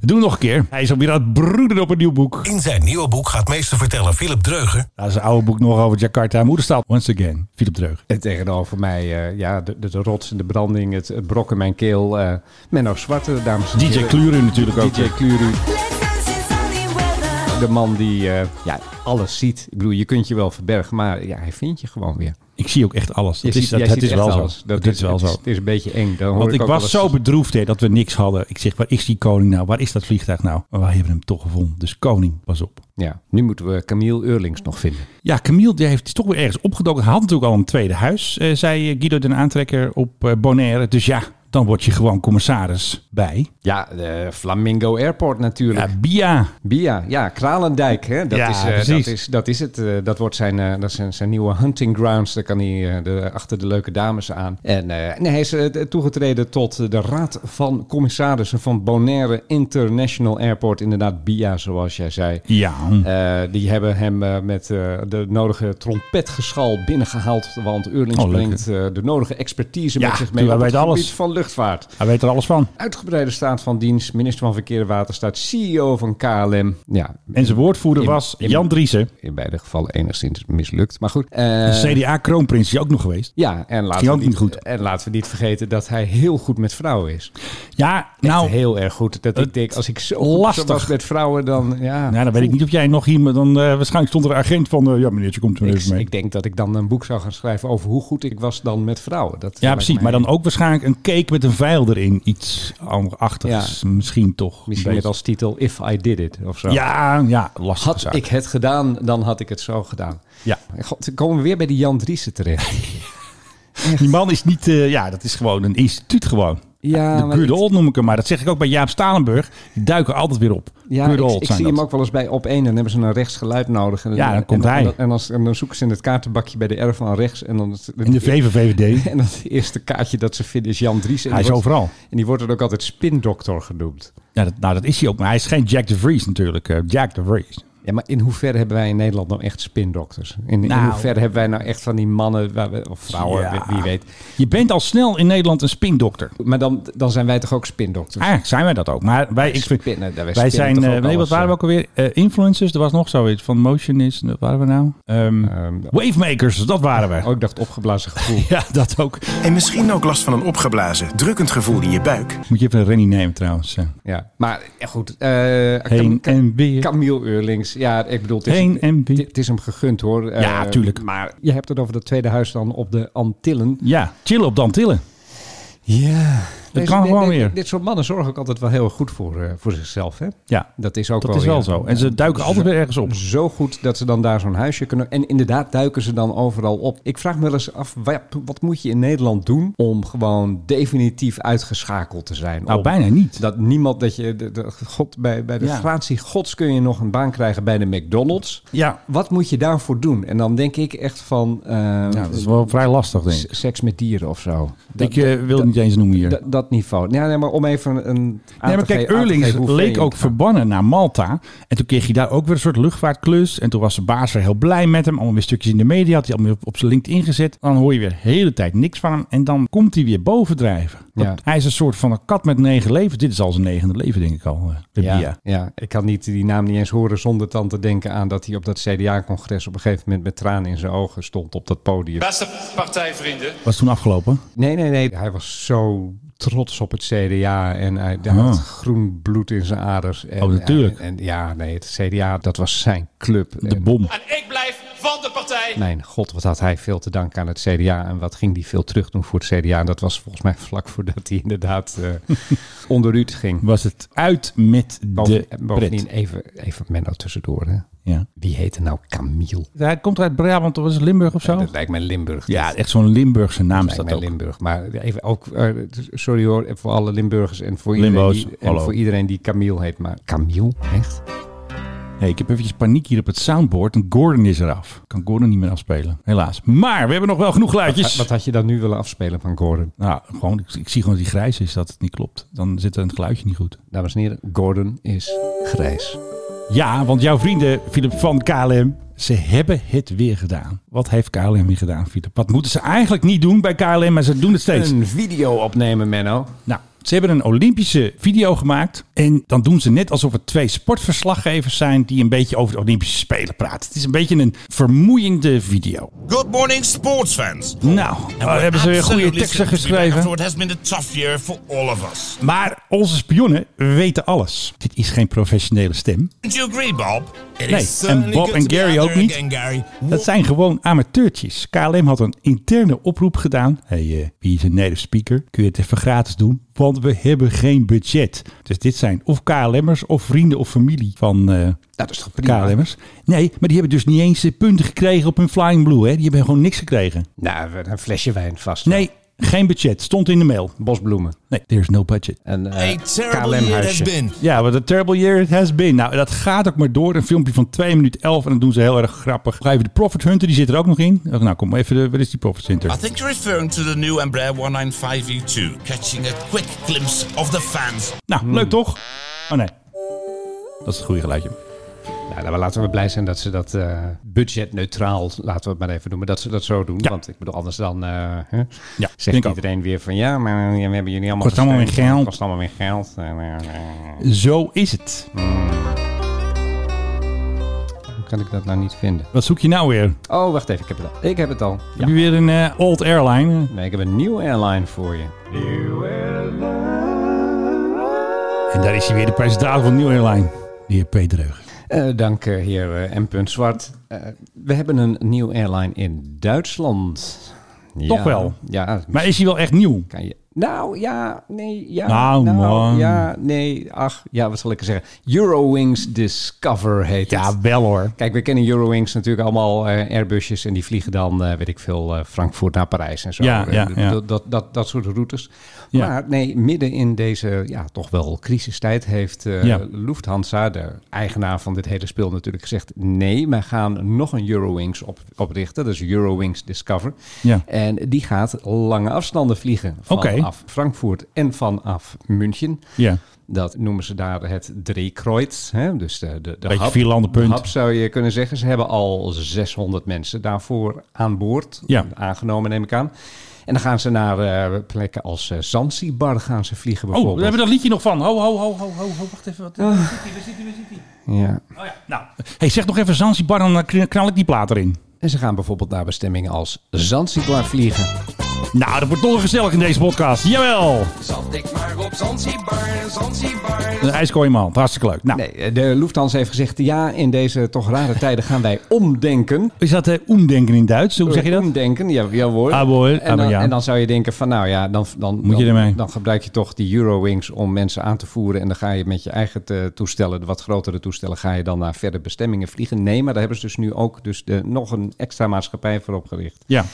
[SPEAKER 2] Doe nog een keer. Hij is alweer aan het broeden op een nieuw boek.
[SPEAKER 8] In zijn nieuwe boek gaat meesterverteller Philip Dreuger
[SPEAKER 2] Dat is een oude boek nog over Jakarta. Moederstaat. Once again. Philip Dreug.
[SPEAKER 3] En tegenover mij, eh, ja, de, de, de rots in de branding, het, het brok in mijn keel. eh Menno Zwarte, dames en
[SPEAKER 2] DJ
[SPEAKER 3] heren.
[SPEAKER 2] Klure natuurlijk ook.
[SPEAKER 3] DJ Kluru.
[SPEAKER 9] Let's dance in sunny weather.
[SPEAKER 3] De man die eh, ja, alles ziet. Ik bedoel, je kunt je wel verbergen, maar ja, hij vindt je gewoon weer.
[SPEAKER 2] Ik zie ook echt alles.
[SPEAKER 3] Je
[SPEAKER 2] Dat is,
[SPEAKER 3] ziet-
[SPEAKER 2] dat,
[SPEAKER 3] jij
[SPEAKER 2] dat
[SPEAKER 3] ziet
[SPEAKER 2] is
[SPEAKER 3] echt
[SPEAKER 2] wel
[SPEAKER 3] alles.
[SPEAKER 2] zo. Dat, is wel
[SPEAKER 3] het
[SPEAKER 2] zo.
[SPEAKER 3] Het is een beetje eng. Dan hoor
[SPEAKER 2] Want ik
[SPEAKER 3] ook
[SPEAKER 2] was
[SPEAKER 3] wel
[SPEAKER 2] zo
[SPEAKER 3] eens-
[SPEAKER 2] bedroefd hè, dat we niks hadden. Ik zeg, waar is die koning nou? Waar is dat vliegtuig nou? Maar wij hebben hem toch gevonden. Dus koning, pas op.
[SPEAKER 3] Ja, nu moeten we Camille Eurlings nog vinden.
[SPEAKER 2] Ja, Camille die heeft is toch weer ergens opgedoken. Hij had natuurlijk al een tweede huis, eh, zei eh, Guido den Aantrekker op eh, Bonaire. Dus ja, dan word je gewoon commissaris bij.
[SPEAKER 3] Ja, de Flamingo Airport natuurlijk.
[SPEAKER 2] Ja, Bia.
[SPEAKER 3] Bia, ja, Kralendijk. Hè? Dat,
[SPEAKER 2] Ja,
[SPEAKER 3] is, eh,
[SPEAKER 2] precies.
[SPEAKER 3] dat, is, dat is het. eh, dat wordt zijn, eh, dat zijn, zijn nieuwe hunting grounds. Daar kan hij eh, de, achter de leuke dames aan. En eh, nee, hij is eh, toegetreden tot eh, de Raad van Commissarissen van Bonaire International Airport. Inderdaad, Bia, zoals jij zei.
[SPEAKER 2] Ja.
[SPEAKER 3] Eh, die hebben hem eh, met eh, de nodige trompetgeschal binnengehaald. Want Eurlings
[SPEAKER 2] Oh, leuk,
[SPEAKER 3] brengt eh, de nodige expertise
[SPEAKER 2] Ja,
[SPEAKER 3] met zich
[SPEAKER 2] doe,
[SPEAKER 3] mee
[SPEAKER 2] hij
[SPEAKER 3] op
[SPEAKER 2] weet
[SPEAKER 3] het
[SPEAKER 2] alles.
[SPEAKER 3] gebied van luchtvaart.
[SPEAKER 2] Hij weet er alles van.
[SPEAKER 3] Uitgebreide staat van dienst, minister van Verkeer en Waterstaat, CEO van KLM. Ja,
[SPEAKER 2] En zijn woordvoerder
[SPEAKER 3] In-
[SPEAKER 2] was
[SPEAKER 3] in-
[SPEAKER 2] Jan Driessen.
[SPEAKER 3] in beide gevallen enigszins mislukt. Maar goed. eh,
[SPEAKER 2] CDA-kroonprins is ook nog geweest.
[SPEAKER 3] ja, en laten,
[SPEAKER 2] Dus Ging
[SPEAKER 3] we
[SPEAKER 2] ook niet goed.
[SPEAKER 3] en laten we niet vergeten dat hij heel goed met vrouwen is.
[SPEAKER 2] Ja,
[SPEAKER 3] Nou,
[SPEAKER 2] nou,
[SPEAKER 3] heel erg goed. Dat ik
[SPEAKER 2] het-
[SPEAKER 3] denk, als ik zo goed
[SPEAKER 2] lastig.
[SPEAKER 3] was met vrouwen, dan ja.
[SPEAKER 2] nou, dan weet ik niet of jij nog hier... maar Dan, eh, waarschijnlijk stond er een agent van... eh, ja, meneertje, komt er
[SPEAKER 3] Ik,
[SPEAKER 2] even mee.
[SPEAKER 3] ik denk dat ik dan een boek zou gaan schrijven over hoe goed ik was dan met vrouwen. Dat
[SPEAKER 2] ja,
[SPEAKER 3] lijkt
[SPEAKER 2] precies.
[SPEAKER 3] mij-
[SPEAKER 2] Maar dan ook waarschijnlijk een cake met een vijl erin. Iets achtigs. Misschien toch.
[SPEAKER 3] Misschien
[SPEAKER 2] Een
[SPEAKER 3] met
[SPEAKER 2] beetje.
[SPEAKER 3] als titel If I Did It of zo.
[SPEAKER 2] Ja, ja, lastig.
[SPEAKER 3] Had ik het gedaan, dan had ik het zo gedaan.
[SPEAKER 2] Ja.
[SPEAKER 3] God, dan komen we weer bij die Jan Driessen terecht.
[SPEAKER 2] Die man is niet... eh, ja, dat is gewoon een instituut gewoon.
[SPEAKER 3] Ja,
[SPEAKER 2] de
[SPEAKER 3] maar
[SPEAKER 2] Guurde
[SPEAKER 3] ik-
[SPEAKER 2] Old noem ik hem maar. Dat zeg ik ook bij Jaap Stalenburg. Die duiken altijd weer op.
[SPEAKER 3] Ja,
[SPEAKER 2] Guurde
[SPEAKER 3] ik,
[SPEAKER 2] Old
[SPEAKER 3] ik
[SPEAKER 2] zijn
[SPEAKER 3] zie
[SPEAKER 2] dat.
[SPEAKER 3] hem ook wel eens bij op één. Dan hebben ze een rechtsgeluid nodig. En,
[SPEAKER 2] Ja, dan
[SPEAKER 3] en-
[SPEAKER 2] komt
[SPEAKER 3] en-
[SPEAKER 2] hij.
[SPEAKER 3] En, dan- en dan zoeken ze in het kaartenbakje bij de R van rechts. En dan het,
[SPEAKER 2] In de VVVD.
[SPEAKER 3] en het eerste kaartje dat ze vinden is Jan Driessen. En
[SPEAKER 2] Hij is
[SPEAKER 3] die wordt-
[SPEAKER 2] overal.
[SPEAKER 3] En die wordt dan ook altijd spindokter genoemd.
[SPEAKER 2] Ja, dat, nou, dat is hij ook. Maar hij is geen Jack de Vries natuurlijk. eh, Jack de Vries.
[SPEAKER 3] Ja, maar in hoeverre hebben wij in Nederland nou echt spindokters? In, in
[SPEAKER 2] Nou.
[SPEAKER 3] hoeverre hebben wij nou echt van die mannen waar we- of vrouwen,
[SPEAKER 2] Ja.
[SPEAKER 3] wie- wie weet.
[SPEAKER 2] Je bent al snel in Nederland een spindokter.
[SPEAKER 3] Maar dan, dan zijn wij toch ook spindokters?
[SPEAKER 2] Eigenlijk Ah, zijn wij dat ook. Maar wij, ik vind,
[SPEAKER 3] spinnen, wij
[SPEAKER 2] wij
[SPEAKER 3] spinnen
[SPEAKER 2] zijn.
[SPEAKER 3] toch
[SPEAKER 2] eh,
[SPEAKER 3] ook
[SPEAKER 2] nee, wat
[SPEAKER 3] alles,
[SPEAKER 2] waren we ook alweer? Eh, influencers, er was nog zoiets van Motionist. Wat waren we nou? Ehm, wavemakers, dat waren we.
[SPEAKER 3] Oh, ik dacht opgeblazen gevoel.
[SPEAKER 2] Ja, dat ook.
[SPEAKER 8] En misschien ook last van een opgeblazen, drukkend gevoel in je buik.
[SPEAKER 2] Moet je even Rennie nemen trouwens. eh.
[SPEAKER 3] ja, maar eh, goed. eh,
[SPEAKER 2] Heen
[SPEAKER 3] Cam- Cam-
[SPEAKER 2] en weer.
[SPEAKER 3] Camille Eurlings. Ja, ik bedoel, het is,
[SPEAKER 2] Heen en weer.
[SPEAKER 3] het is hem gegund hoor. Eh,
[SPEAKER 2] Ja, tuurlijk.
[SPEAKER 3] Maar je hebt het over dat tweede huis dan op de Antillen.
[SPEAKER 2] Ja, chillen op de Antillen.
[SPEAKER 3] Ja.
[SPEAKER 2] kan gewoon weer.
[SPEAKER 3] Dit soort mannen zorgen ook altijd wel heel goed voor, eh, voor zichzelf. Hè?
[SPEAKER 2] Ja,
[SPEAKER 3] Dat is ook
[SPEAKER 2] dat
[SPEAKER 3] wel
[SPEAKER 2] is wel
[SPEAKER 3] weer-
[SPEAKER 2] zo. En ze duiken altijd weer ergens op.
[SPEAKER 3] zo goed dat ze dan daar zo'n huisje kunnen. En inderdaad duiken ze dan overal op. Ik vraag me wel eens af, wat, wat moet je in Nederland doen om gewoon definitief uitgeschakeld te zijn?
[SPEAKER 2] Nou,
[SPEAKER 3] Om-
[SPEAKER 2] bijna niet.
[SPEAKER 3] Dat niemand, dat je, de, de- God, bij, bij de
[SPEAKER 2] Ja.
[SPEAKER 3] gratie gods kun je nog een baan krijgen bij de McDonald's.
[SPEAKER 2] Ja,
[SPEAKER 3] Wat moet je daarvoor doen? En dan denk ik echt van eh,
[SPEAKER 2] ja dat is wel vrij lastig, denk
[SPEAKER 3] s-
[SPEAKER 2] ik.
[SPEAKER 3] seks met dieren of zo. Dat,
[SPEAKER 2] ik eh, wil het niet eens noemen hier.
[SPEAKER 3] dat, dat niveau. Ja, nee, maar om even een... aan
[SPEAKER 2] Nee, maar
[SPEAKER 3] te
[SPEAKER 2] kijk,
[SPEAKER 3] geven- aan te
[SPEAKER 2] Eurlings
[SPEAKER 3] geven hoe ver
[SPEAKER 2] leek
[SPEAKER 3] je
[SPEAKER 2] ook
[SPEAKER 3] moet gaan.
[SPEAKER 2] verbannen naar Malta. En toen kreeg hij daar ook weer een soort luchtvaartklus. En toen was de baas er heel blij met hem. Allemaal weer stukjes in de media. Had hij allemaal op, op zijn LinkedIn gezet. Dan hoor je weer de hele tijd niks van hem. En dan komt hij weer bovendrijven. Want
[SPEAKER 3] Ja.
[SPEAKER 2] Hij is een soort van een kat met negen levens. Dit is al zijn negende leven, denk ik al. eh, de
[SPEAKER 3] Ja,
[SPEAKER 2] Bia.
[SPEAKER 3] ja, ik kan niet die naam niet eens horen zonder dan te denken aan dat hij op dat CDA-congres op een gegeven moment met tranen in zijn ogen stond op dat podium.
[SPEAKER 7] Beste partijvrienden,
[SPEAKER 2] Was toen afgelopen.
[SPEAKER 3] Nee, nee, nee. Hij was zo trots op het CDA en hij, hij had
[SPEAKER 2] Ah.
[SPEAKER 3] groen bloed in zijn aders. En,
[SPEAKER 2] Oh, natuurlijk.
[SPEAKER 3] En, en ja, nee, het CDA, dat was zijn club.
[SPEAKER 2] De
[SPEAKER 3] En
[SPEAKER 2] bom.
[SPEAKER 7] en ik blijf van de partij.
[SPEAKER 3] Mijn god, wat had hij veel te danken aan het CDA en wat ging hij veel terug doen voor het CDA. En dat was volgens mij vlak voordat hij inderdaad eh onder Ruud ging.
[SPEAKER 2] Was het uit met de
[SPEAKER 3] Boven,
[SPEAKER 2] pret.
[SPEAKER 3] bovendien, even, even Menno tussendoor. Hè.
[SPEAKER 2] Ja.
[SPEAKER 3] Wie heette nou Camille?
[SPEAKER 2] Hij komt uit Brabant of is het Limburg of zo?
[SPEAKER 3] Dat lijkt mij Limburg.
[SPEAKER 2] Oh. Ja, echt zo'n Limburgse naam is
[SPEAKER 3] lijkt
[SPEAKER 2] dat
[SPEAKER 3] mij
[SPEAKER 2] ook.
[SPEAKER 3] Limburg. Maar even ook, eh, sorry hoor, voor alle Limburgers en voor,
[SPEAKER 2] Limbo's,
[SPEAKER 3] iedereen die, en
[SPEAKER 2] hallo.
[SPEAKER 3] voor iedereen die Camille heet. Maar Camille, echt?
[SPEAKER 2] Hey, ik heb eventjes paniek hier op het soundboard. En Gordon is eraf. Ik kan Gordon niet meer afspelen, helaas. Maar we hebben nog wel genoeg
[SPEAKER 3] Wat,
[SPEAKER 2] geluidjes.
[SPEAKER 3] wat had je dan nu willen afspelen van Gordon?
[SPEAKER 2] Nou, gewoon, ik, ik zie gewoon dat die grijs is, dat het niet klopt. Dan zit er het geluidje niet goed.
[SPEAKER 3] Dames en heren, Gordon is grijs.
[SPEAKER 2] Ja, want jouw vrienden, Philip van KLM, ze hebben het weer gedaan. Wat heeft KLM weer gedaan, Philip? Wat moeten ze eigenlijk niet doen bij KLM, maar ze doen het steeds.
[SPEAKER 3] Een video opnemen, Menno.
[SPEAKER 2] Nou, ze hebben een Olympische video gemaakt. En dan doen ze net alsof het twee sportverslaggevers zijn die een beetje over de Olympische Spelen praten. Het is een beetje een vermoeiende video.
[SPEAKER 10] Good morning, sports fans.
[SPEAKER 2] Nou, eh, hebben ze weer goede teksten geschreven.
[SPEAKER 10] it has been a tough year for all of us.
[SPEAKER 2] Maar onze spionnen weten alles. Dit is geen professionele stem.
[SPEAKER 10] Don't you agree, Bob? It
[SPEAKER 2] Nee, en Bob en Gary ook niet. Dat zijn gewoon amateurtjes. KLM had een interne oproep gedaan. hey, eh, wie is een native speaker? Kun je het even gratis doen? Want we hebben geen budget. Dus dit zijn of KLM'ers of vrienden of familie van eh,
[SPEAKER 3] Dat is toch prima?
[SPEAKER 2] KLM'ers. Nee, maar die hebben dus niet eens eh, punten gekregen op hun Flying Blue. Hè? Die hebben gewoon niks gekregen.
[SPEAKER 3] Nou, een flesje wijn vast.
[SPEAKER 2] Nee, geen budget. Stond in de mail.
[SPEAKER 3] Bosbloemen. eh,
[SPEAKER 2] Nee, there's no budget.
[SPEAKER 3] Een
[SPEAKER 2] Eh,
[SPEAKER 10] A terrible year it has
[SPEAKER 3] KLM-huisje.
[SPEAKER 10] been.
[SPEAKER 2] Ja, wat een terrible year it has been. Nou, dat gaat ook maar door. Een filmpje van 2 minuten 11 en dat doen ze heel erg grappig. Nog Even de Profit Hunter, die zit er ook nog in. Oh, Nou, kom even, de, waar is die Profit
[SPEAKER 10] I
[SPEAKER 2] Hunter?
[SPEAKER 10] think you're referring to the new Embraer 195E2, catching a quick glimpse of the fans.
[SPEAKER 2] Nou, leuk toch? Oh nee, dat is het goede geluidje.
[SPEAKER 3] Nou, nou, maar laten we blij zijn dat ze dat eh, budgetneutraal, laten we het maar even noemen, dat ze dat zo doen.
[SPEAKER 2] Ja.
[SPEAKER 3] Want ik bedoel, anders dan eh, hè,
[SPEAKER 2] Ja, vind ik
[SPEAKER 3] zegt
[SPEAKER 2] ook.
[SPEAKER 3] iedereen weer van ja, maar eh, we hebben jullie allemaal
[SPEAKER 2] Kost allemaal
[SPEAKER 3] gesteund.
[SPEAKER 2] weer geld.
[SPEAKER 3] Kost allemaal weer geld. Eh, eh, eh.
[SPEAKER 2] Zo is het.
[SPEAKER 3] Hoe kan ik dat nou niet vinden?
[SPEAKER 2] Wat zoek je nou weer?
[SPEAKER 3] Oh, wacht even, ik heb het al. Ik heb het al.
[SPEAKER 2] Heb je weer een eh, old airline?
[SPEAKER 3] Nee, ik heb een nieuwe airline voor je.
[SPEAKER 2] En daar is hij weer, de presentator van Nieuw Airline. De heer Peter Heug.
[SPEAKER 3] Eh, dank, eh, heer eh, M. punt Zwart. Eh, we hebben een nieuwe airline in Duitsland.
[SPEAKER 2] Toch
[SPEAKER 3] Ja,
[SPEAKER 2] wel?
[SPEAKER 3] Ja,
[SPEAKER 2] Maar is hij wel echt nieuw?
[SPEAKER 3] kan je. Nou ja, nee, ja.
[SPEAKER 2] Nou, man.
[SPEAKER 3] Ja, nee, ach, ja, wat zal ik zeggen? Eurowings Discover heet het.
[SPEAKER 2] Ja, wel hoor.
[SPEAKER 3] Kijk, we kennen Eurowings natuurlijk allemaal eh, Airbusjes en die vliegen dan, eh, weet ik veel, eh, Frankfurt naar Parijs en zo.
[SPEAKER 2] Ja, ja,
[SPEAKER 3] Eh,
[SPEAKER 2] ja.
[SPEAKER 3] Dat, dat, dat, dat soort routes.
[SPEAKER 2] Ja.
[SPEAKER 3] Maar nee, midden in deze ja, toch wel crisistijd heeft eh,
[SPEAKER 2] Ja.
[SPEAKER 3] Lufthansa, de eigenaar van dit hele speel, natuurlijk gezegd: nee, wij gaan nog een Eurowings op, oprichten. Dat is Eurowings Discover.
[SPEAKER 2] Ja.
[SPEAKER 3] En die gaat lange afstanden vliegen. Vanaf
[SPEAKER 2] Oké.
[SPEAKER 3] Frankfurt en vanaf München.
[SPEAKER 2] Ja.
[SPEAKER 3] Dat noemen ze daar het Drehkreuz. Hè? Dus de, de, de
[SPEAKER 2] Beetje
[SPEAKER 3] hub,
[SPEAKER 2] vierlandenpunt.
[SPEAKER 3] de hub zou je kunnen zeggen. Ze hebben al 600 mensen daarvoor aan boord.
[SPEAKER 2] Ja.
[SPEAKER 3] Aangenomen neem ik aan. En dan gaan ze naar eh, plekken als eh, Zanzibar gaan ze vliegen
[SPEAKER 2] Oh, we
[SPEAKER 3] bijvoorbeeld.
[SPEAKER 2] hebben dat liedje nog van. Ho, ho, ho, ho, ho, ho. Wacht even. Wat, waar zit hij, waar zit hij, waar zit hij?
[SPEAKER 3] ja.
[SPEAKER 2] Oh ja, nou. Hey, zeg nog even Zanzibar, dan eh, knal ik die plaat erin.
[SPEAKER 3] En ze gaan bijvoorbeeld naar bestemmingen als Zanzibar vliegen.
[SPEAKER 2] Nou, dat wordt nog gezellig in deze podcast. Jawel!
[SPEAKER 1] Zat ik maar op Zanzibar, Zanzibar.
[SPEAKER 2] Een ijskooi in mijn hand. Hartstikke leuk. Nou,
[SPEAKER 3] Nee, de Lufthansa heeft gezegd, ja, in deze toch rare tijden gaan wij omdenken.
[SPEAKER 2] is dat eh omdenken in Duits? Hoe zeg je dat?
[SPEAKER 3] Omdenken, ja, jawohl.
[SPEAKER 2] Jawohl,
[SPEAKER 3] En
[SPEAKER 2] aber
[SPEAKER 3] dan,
[SPEAKER 2] ja.
[SPEAKER 3] en dan zou je denken van, nou ja, dan, dan,
[SPEAKER 2] Moet je
[SPEAKER 3] dan-
[SPEAKER 2] ermee.
[SPEAKER 3] dan gebruik je toch die Eurowings om mensen aan te voeren. En dan ga je met je eigen eh, toestellen, de wat grotere toestellen, ga je dan naar verder bestemmingen vliegen. Nee, maar daar hebben ze dus nu ook dus de, nog een extra maatschappij voor opgericht.
[SPEAKER 2] Ja.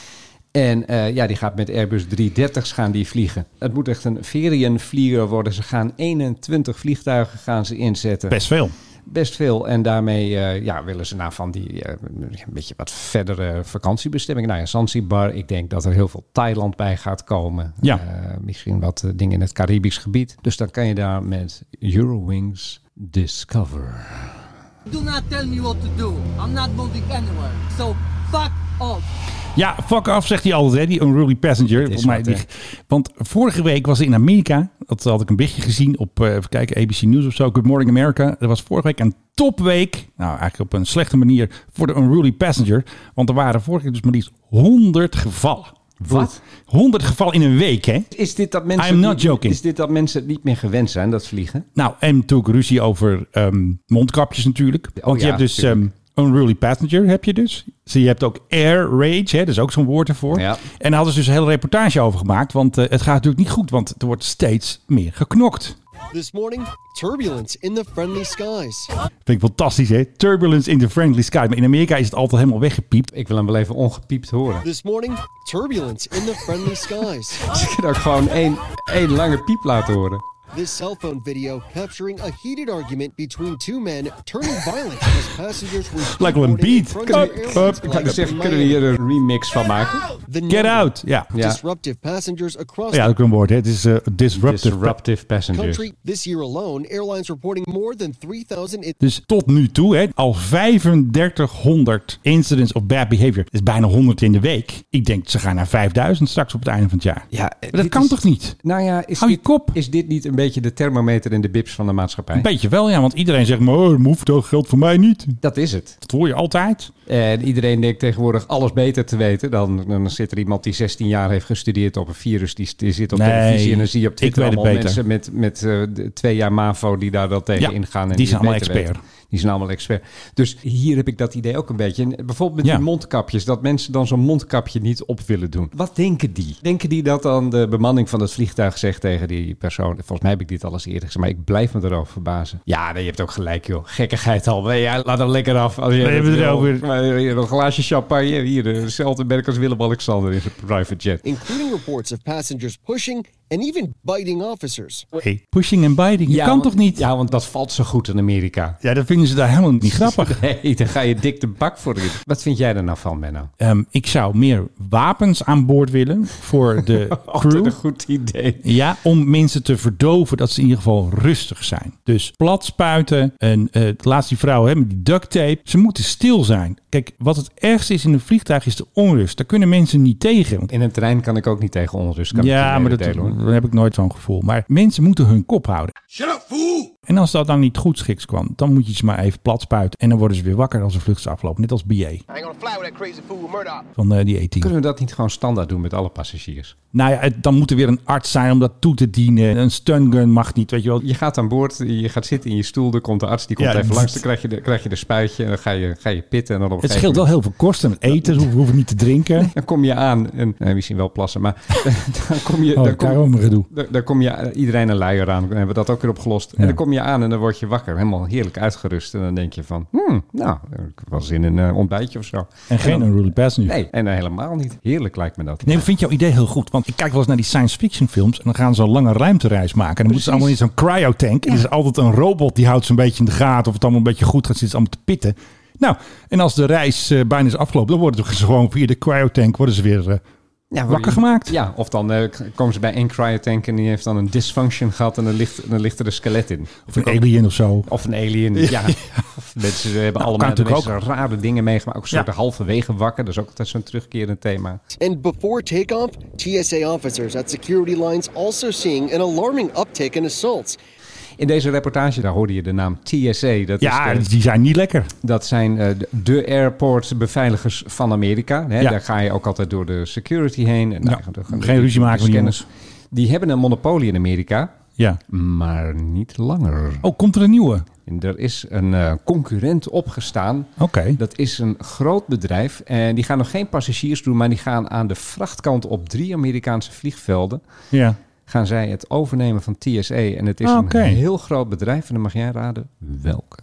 [SPEAKER 3] En eh, ja, die gaat met Airbus 330's gaan die vliegen. Het moet echt een ferienvlieger worden. Ze gaan 21 vliegtuigen gaan ze inzetten
[SPEAKER 2] Best veel.
[SPEAKER 3] best veel. En daarmee eh, ja, willen ze naar van die eh, een beetje wat verdere vakantiebestemmingen. Nou ja, Zanzibar. Ik denk dat er heel veel Thailand bij gaat komen.
[SPEAKER 2] Ja.
[SPEAKER 3] Eh, misschien wat eh, dingen in het Caribisch gebied. Dus dan kan je daar met Eurowings Discover.
[SPEAKER 11] Do not tell me what to do. I'm not moving anywhere. So fuck off.
[SPEAKER 2] Ja, fuck off, zegt hij altijd, hè, die unruly passenger. Volgens mij,
[SPEAKER 3] wat,
[SPEAKER 2] die- want vorige week was er in Amerika, dat had ik een berichtje gezien op eh, even kijken, ABC News of zo, Good Morning America. Er was vorige week een topweek, nou eigenlijk op een slechte manier, voor de unruly passenger. Want er waren vorige week dus maar liefst 100 gevallen.
[SPEAKER 3] Wat?
[SPEAKER 2] 100 gevallen in een week, hè?
[SPEAKER 3] Is dit dat mensen,
[SPEAKER 2] I'm not
[SPEAKER 3] die-
[SPEAKER 2] joking.
[SPEAKER 3] Is dit dat mensen het niet meer gewend zijn, dat vliegen?
[SPEAKER 2] Nou, en natuurlijk ruzie over ehm, mondkapjes natuurlijk. Want je
[SPEAKER 3] Oh ja,
[SPEAKER 2] hebt dus
[SPEAKER 3] tuurlijk.
[SPEAKER 2] ehm, unruly passenger, heb je dus. Dus je hebt ook air rage, hè, dat is ook zo'n woord ervoor.
[SPEAKER 3] Ja.
[SPEAKER 2] En daar hadden ze dus een hele reportage over gemaakt. Want eh, het gaat natuurlijk niet goed, want er wordt steeds meer geknokt.
[SPEAKER 11] This morning, turbulence in the friendly skies.
[SPEAKER 2] Vind ik fantastisch, hè? Turbulence in the friendly sky. Maar in Amerika is het altijd helemaal weggepiept.
[SPEAKER 3] Ik wil hem wel even ongepiept horen.
[SPEAKER 11] This morning, turbulence in the friendly skies.
[SPEAKER 3] Dus ik kan ook gewoon één, één lange piep laten horen.
[SPEAKER 11] This cell phone video capturing a heated argument between two men turning violent as passengers were
[SPEAKER 2] Lijkt wel een
[SPEAKER 11] skateboarding in
[SPEAKER 2] beat.
[SPEAKER 11] front
[SPEAKER 2] Up,
[SPEAKER 11] of an airline
[SPEAKER 2] up.
[SPEAKER 11] flag
[SPEAKER 3] Ik wou
[SPEAKER 11] up
[SPEAKER 3] zeggen,
[SPEAKER 11] in
[SPEAKER 3] kunnen we
[SPEAKER 11] Miami.
[SPEAKER 3] hier een remix van maken?
[SPEAKER 11] The
[SPEAKER 2] Get
[SPEAKER 11] number
[SPEAKER 2] out! Ja,
[SPEAKER 3] Ja.
[SPEAKER 11] Disruptive passengers across
[SPEAKER 2] ja dat is een woord, hè? Het is eh, disruptive.
[SPEAKER 3] Disruptive
[SPEAKER 11] the
[SPEAKER 3] passengers.
[SPEAKER 11] country. This year alone, airlines reporting more than 3,000 in-
[SPEAKER 2] Dus tot nu toe, hè, al 3500 incidents of bad behavior. Dat is bijna 100 in de week. Ik denk, ze gaan naar 5000 straks op het einde van het jaar.
[SPEAKER 3] Ja, eh,
[SPEAKER 2] Maar dat
[SPEAKER 3] dit
[SPEAKER 2] kan
[SPEAKER 3] is-
[SPEAKER 2] toch niet?
[SPEAKER 3] Nou ja, is,
[SPEAKER 2] Hou je
[SPEAKER 3] dit,
[SPEAKER 2] kop.
[SPEAKER 3] is dit niet een beetje de thermometer in de bips van de maatschappij?
[SPEAKER 2] Een beetje wel, ja. Want iedereen zegt, maar oh, move, dat geldt voor mij niet.
[SPEAKER 3] dat is het.
[SPEAKER 2] Dat hoor je altijd.
[SPEAKER 3] En iedereen denkt tegenwoordig alles beter te weten. Dan, dan zit er iemand die 16 jaar heeft gestudeerd op een virus. Die, die zit op
[SPEAKER 2] Nee,
[SPEAKER 3] televisie en dan zie je op
[SPEAKER 2] ik
[SPEAKER 3] Twitter
[SPEAKER 2] weet het
[SPEAKER 3] allemaal mensen met, met eh, de twee jaar MAVO die daar wel tegen
[SPEAKER 2] Ja,
[SPEAKER 3] ingaan. En
[SPEAKER 2] die
[SPEAKER 3] het
[SPEAKER 2] zijn allemaal
[SPEAKER 3] beter
[SPEAKER 2] expert.
[SPEAKER 3] weten. Die zijn allemaal expert. Dus hier heb ik dat idee ook een beetje. En bijvoorbeeld met
[SPEAKER 2] Ja.
[SPEAKER 3] die mondkapjes. Dat mensen dan zo'n mondkapje niet op willen doen. Wat denken die? Denken die dat dan de bemanning van het vliegtuig zegt tegen die persoon? Volgens mij heb ik dit alles eerder gezegd, maar ik blijf me erover verbazen. Ja, nee, je hebt ook gelijk joh. Gekkigheid al. Nee, ja, laat hem lekker af. Als je
[SPEAKER 2] We hebben het
[SPEAKER 3] wil.
[SPEAKER 2] erover.
[SPEAKER 3] Maar Hier, een glaasje eh, champagne. Hier, eh, hetzelfde merk als Willem-Alexander in zijn private jet.
[SPEAKER 11] including reports of passengers pushing and even biting officers.
[SPEAKER 2] Hey, pushing en biting, je
[SPEAKER 3] Ja,
[SPEAKER 2] kan
[SPEAKER 3] want-
[SPEAKER 2] toch niet? Ja.
[SPEAKER 3] Ja, want dat valt zo goed in Amerika.
[SPEAKER 2] dat vinden ze daar helemaal niet grappig.
[SPEAKER 3] Nee, daar ga je dik de bak voor in. Wat vind jij er nou van, Menno?
[SPEAKER 2] Ehm, ik zou meer wapens aan boord willen voor de
[SPEAKER 3] Altijd
[SPEAKER 2] crew.
[SPEAKER 3] een goed idee.
[SPEAKER 2] Ja, om mensen te verdoven dat ze in ieder geval rustig zijn. Dus plat spuiten en eh, laatst die vrouw hè, met die duct tape. Ze moeten stil zijn. Kijk, wat het ergste is in een vliegtuig is de onrust. Daar kunnen mensen niet tegen. Want-
[SPEAKER 3] In een trein kan ik ook niet tegen onrust. Kan
[SPEAKER 2] ja, maar dat, daar heb ik nooit zo'n gevoel. Maar mensen moeten hun kop houden. En als dat dan niet goed schiks kwam, dan moet je ze maar even plat spuiten. En dan worden ze weer wakker als de vlucht is afgelopen. Net als BA van eh, die A-team.
[SPEAKER 3] Kunnen we dat niet gewoon standaard doen met alle passagiers?
[SPEAKER 2] Nou ja, het- dan moet er weer een arts zijn om dat toe te dienen. Een stungun mag niet, weet je wel.
[SPEAKER 3] Je gaat aan boord, je gaat zitten in je stoel, er komt de arts, die komt
[SPEAKER 2] Ja,
[SPEAKER 3] even
[SPEAKER 2] dat-
[SPEAKER 3] langs, dan krijg je de, krijg je de spuitje en dan ga je, ga je pitten. En dan op een
[SPEAKER 2] Het
[SPEAKER 3] gegeven
[SPEAKER 2] scheelt wel heel veel kosten. Eten, we hoeven niet te drinken.
[SPEAKER 3] Dan kom je aan, en eh, misschien wel plassen, maar dan kom je...
[SPEAKER 2] Oh,
[SPEAKER 3] dan kom-
[SPEAKER 2] daarom gedoe.
[SPEAKER 3] dan- dan kom je eh, iedereen een luier aan. Dan hebben we dat ook weer opgelost.
[SPEAKER 2] Ja.
[SPEAKER 3] En dan kom je aan en dan word je wakker. Helemaal heerlijk uitgerust. En dan denk je van, hmm, nou, ik heb wel zin in een eh, ontbijtje of zo.
[SPEAKER 2] En geen unruly passenger.
[SPEAKER 3] Nee, en eh, helemaal niet. Heerlijk lijkt me dat.
[SPEAKER 2] Nee, ik vind jouw idee heel goed. Want ik kijk wel eens naar die science fiction films. En dan gaan ze een lange ruimtereis maken. En dan moeten ze allemaal in zo'n cryotank. En er is altijd een robot die houdt ze een beetje in de gaten. Of het allemaal een beetje goed gaat. Zitten ze allemaal te pitten. Nou, en als de reis eh, bijna is afgelopen. Dan worden ze gewoon via de cryotank worden ze weer eh,
[SPEAKER 3] Ja,
[SPEAKER 2] wakker
[SPEAKER 3] worden-
[SPEAKER 2] gemaakt.
[SPEAKER 3] Ja, of dan eh, k- komen ze bij één cryotank en die heeft dan een dysfunction gehad en dan ligt, dan ligt er een skelet in.
[SPEAKER 2] Of een alien of zo.
[SPEAKER 3] Of een alien, ja. Of mensen eh, hebben allemaal
[SPEAKER 2] Nou, kan natuurlijk
[SPEAKER 3] mensen rare dingen meegemaakt. Ook een soort
[SPEAKER 2] Ja.
[SPEAKER 3] halverwege wakker, dat is ook altijd zo'n terugkerend thema.
[SPEAKER 11] And before takeoff, TSA officers at security lines also seeing an alarming uptick in assaults.
[SPEAKER 3] In deze reportage, daar hoorde je de naam TSA. Dat,
[SPEAKER 2] Ja,
[SPEAKER 3] is de,
[SPEAKER 2] die zijn niet lekker.
[SPEAKER 3] dat zijn eh, de- de airportbeveiligers van Amerika. Hè,
[SPEAKER 2] Ja.
[SPEAKER 3] Daar ga je ook altijd door de security heen. En
[SPEAKER 2] Ja,
[SPEAKER 3] daar gaan de-
[SPEAKER 2] geen ruzie maken met die
[SPEAKER 3] scanners. Die hebben een monopolie in Amerika,
[SPEAKER 2] Ja.
[SPEAKER 3] maar niet langer.
[SPEAKER 2] Oh, komt er een nieuwe?
[SPEAKER 3] En er is een eh, concurrent opgestaan.
[SPEAKER 2] Oké.
[SPEAKER 3] Dat is een groot bedrijf. En die gaan nog geen passagiers doen, maar die gaan aan de vrachtkant op drie Amerikaanse vliegvelden.
[SPEAKER 2] Ja.
[SPEAKER 3] Gaan zij het overnemen van TSA. En het is
[SPEAKER 2] Ah, oké.
[SPEAKER 3] een heel groot bedrijf. En dan mag jij raden welke.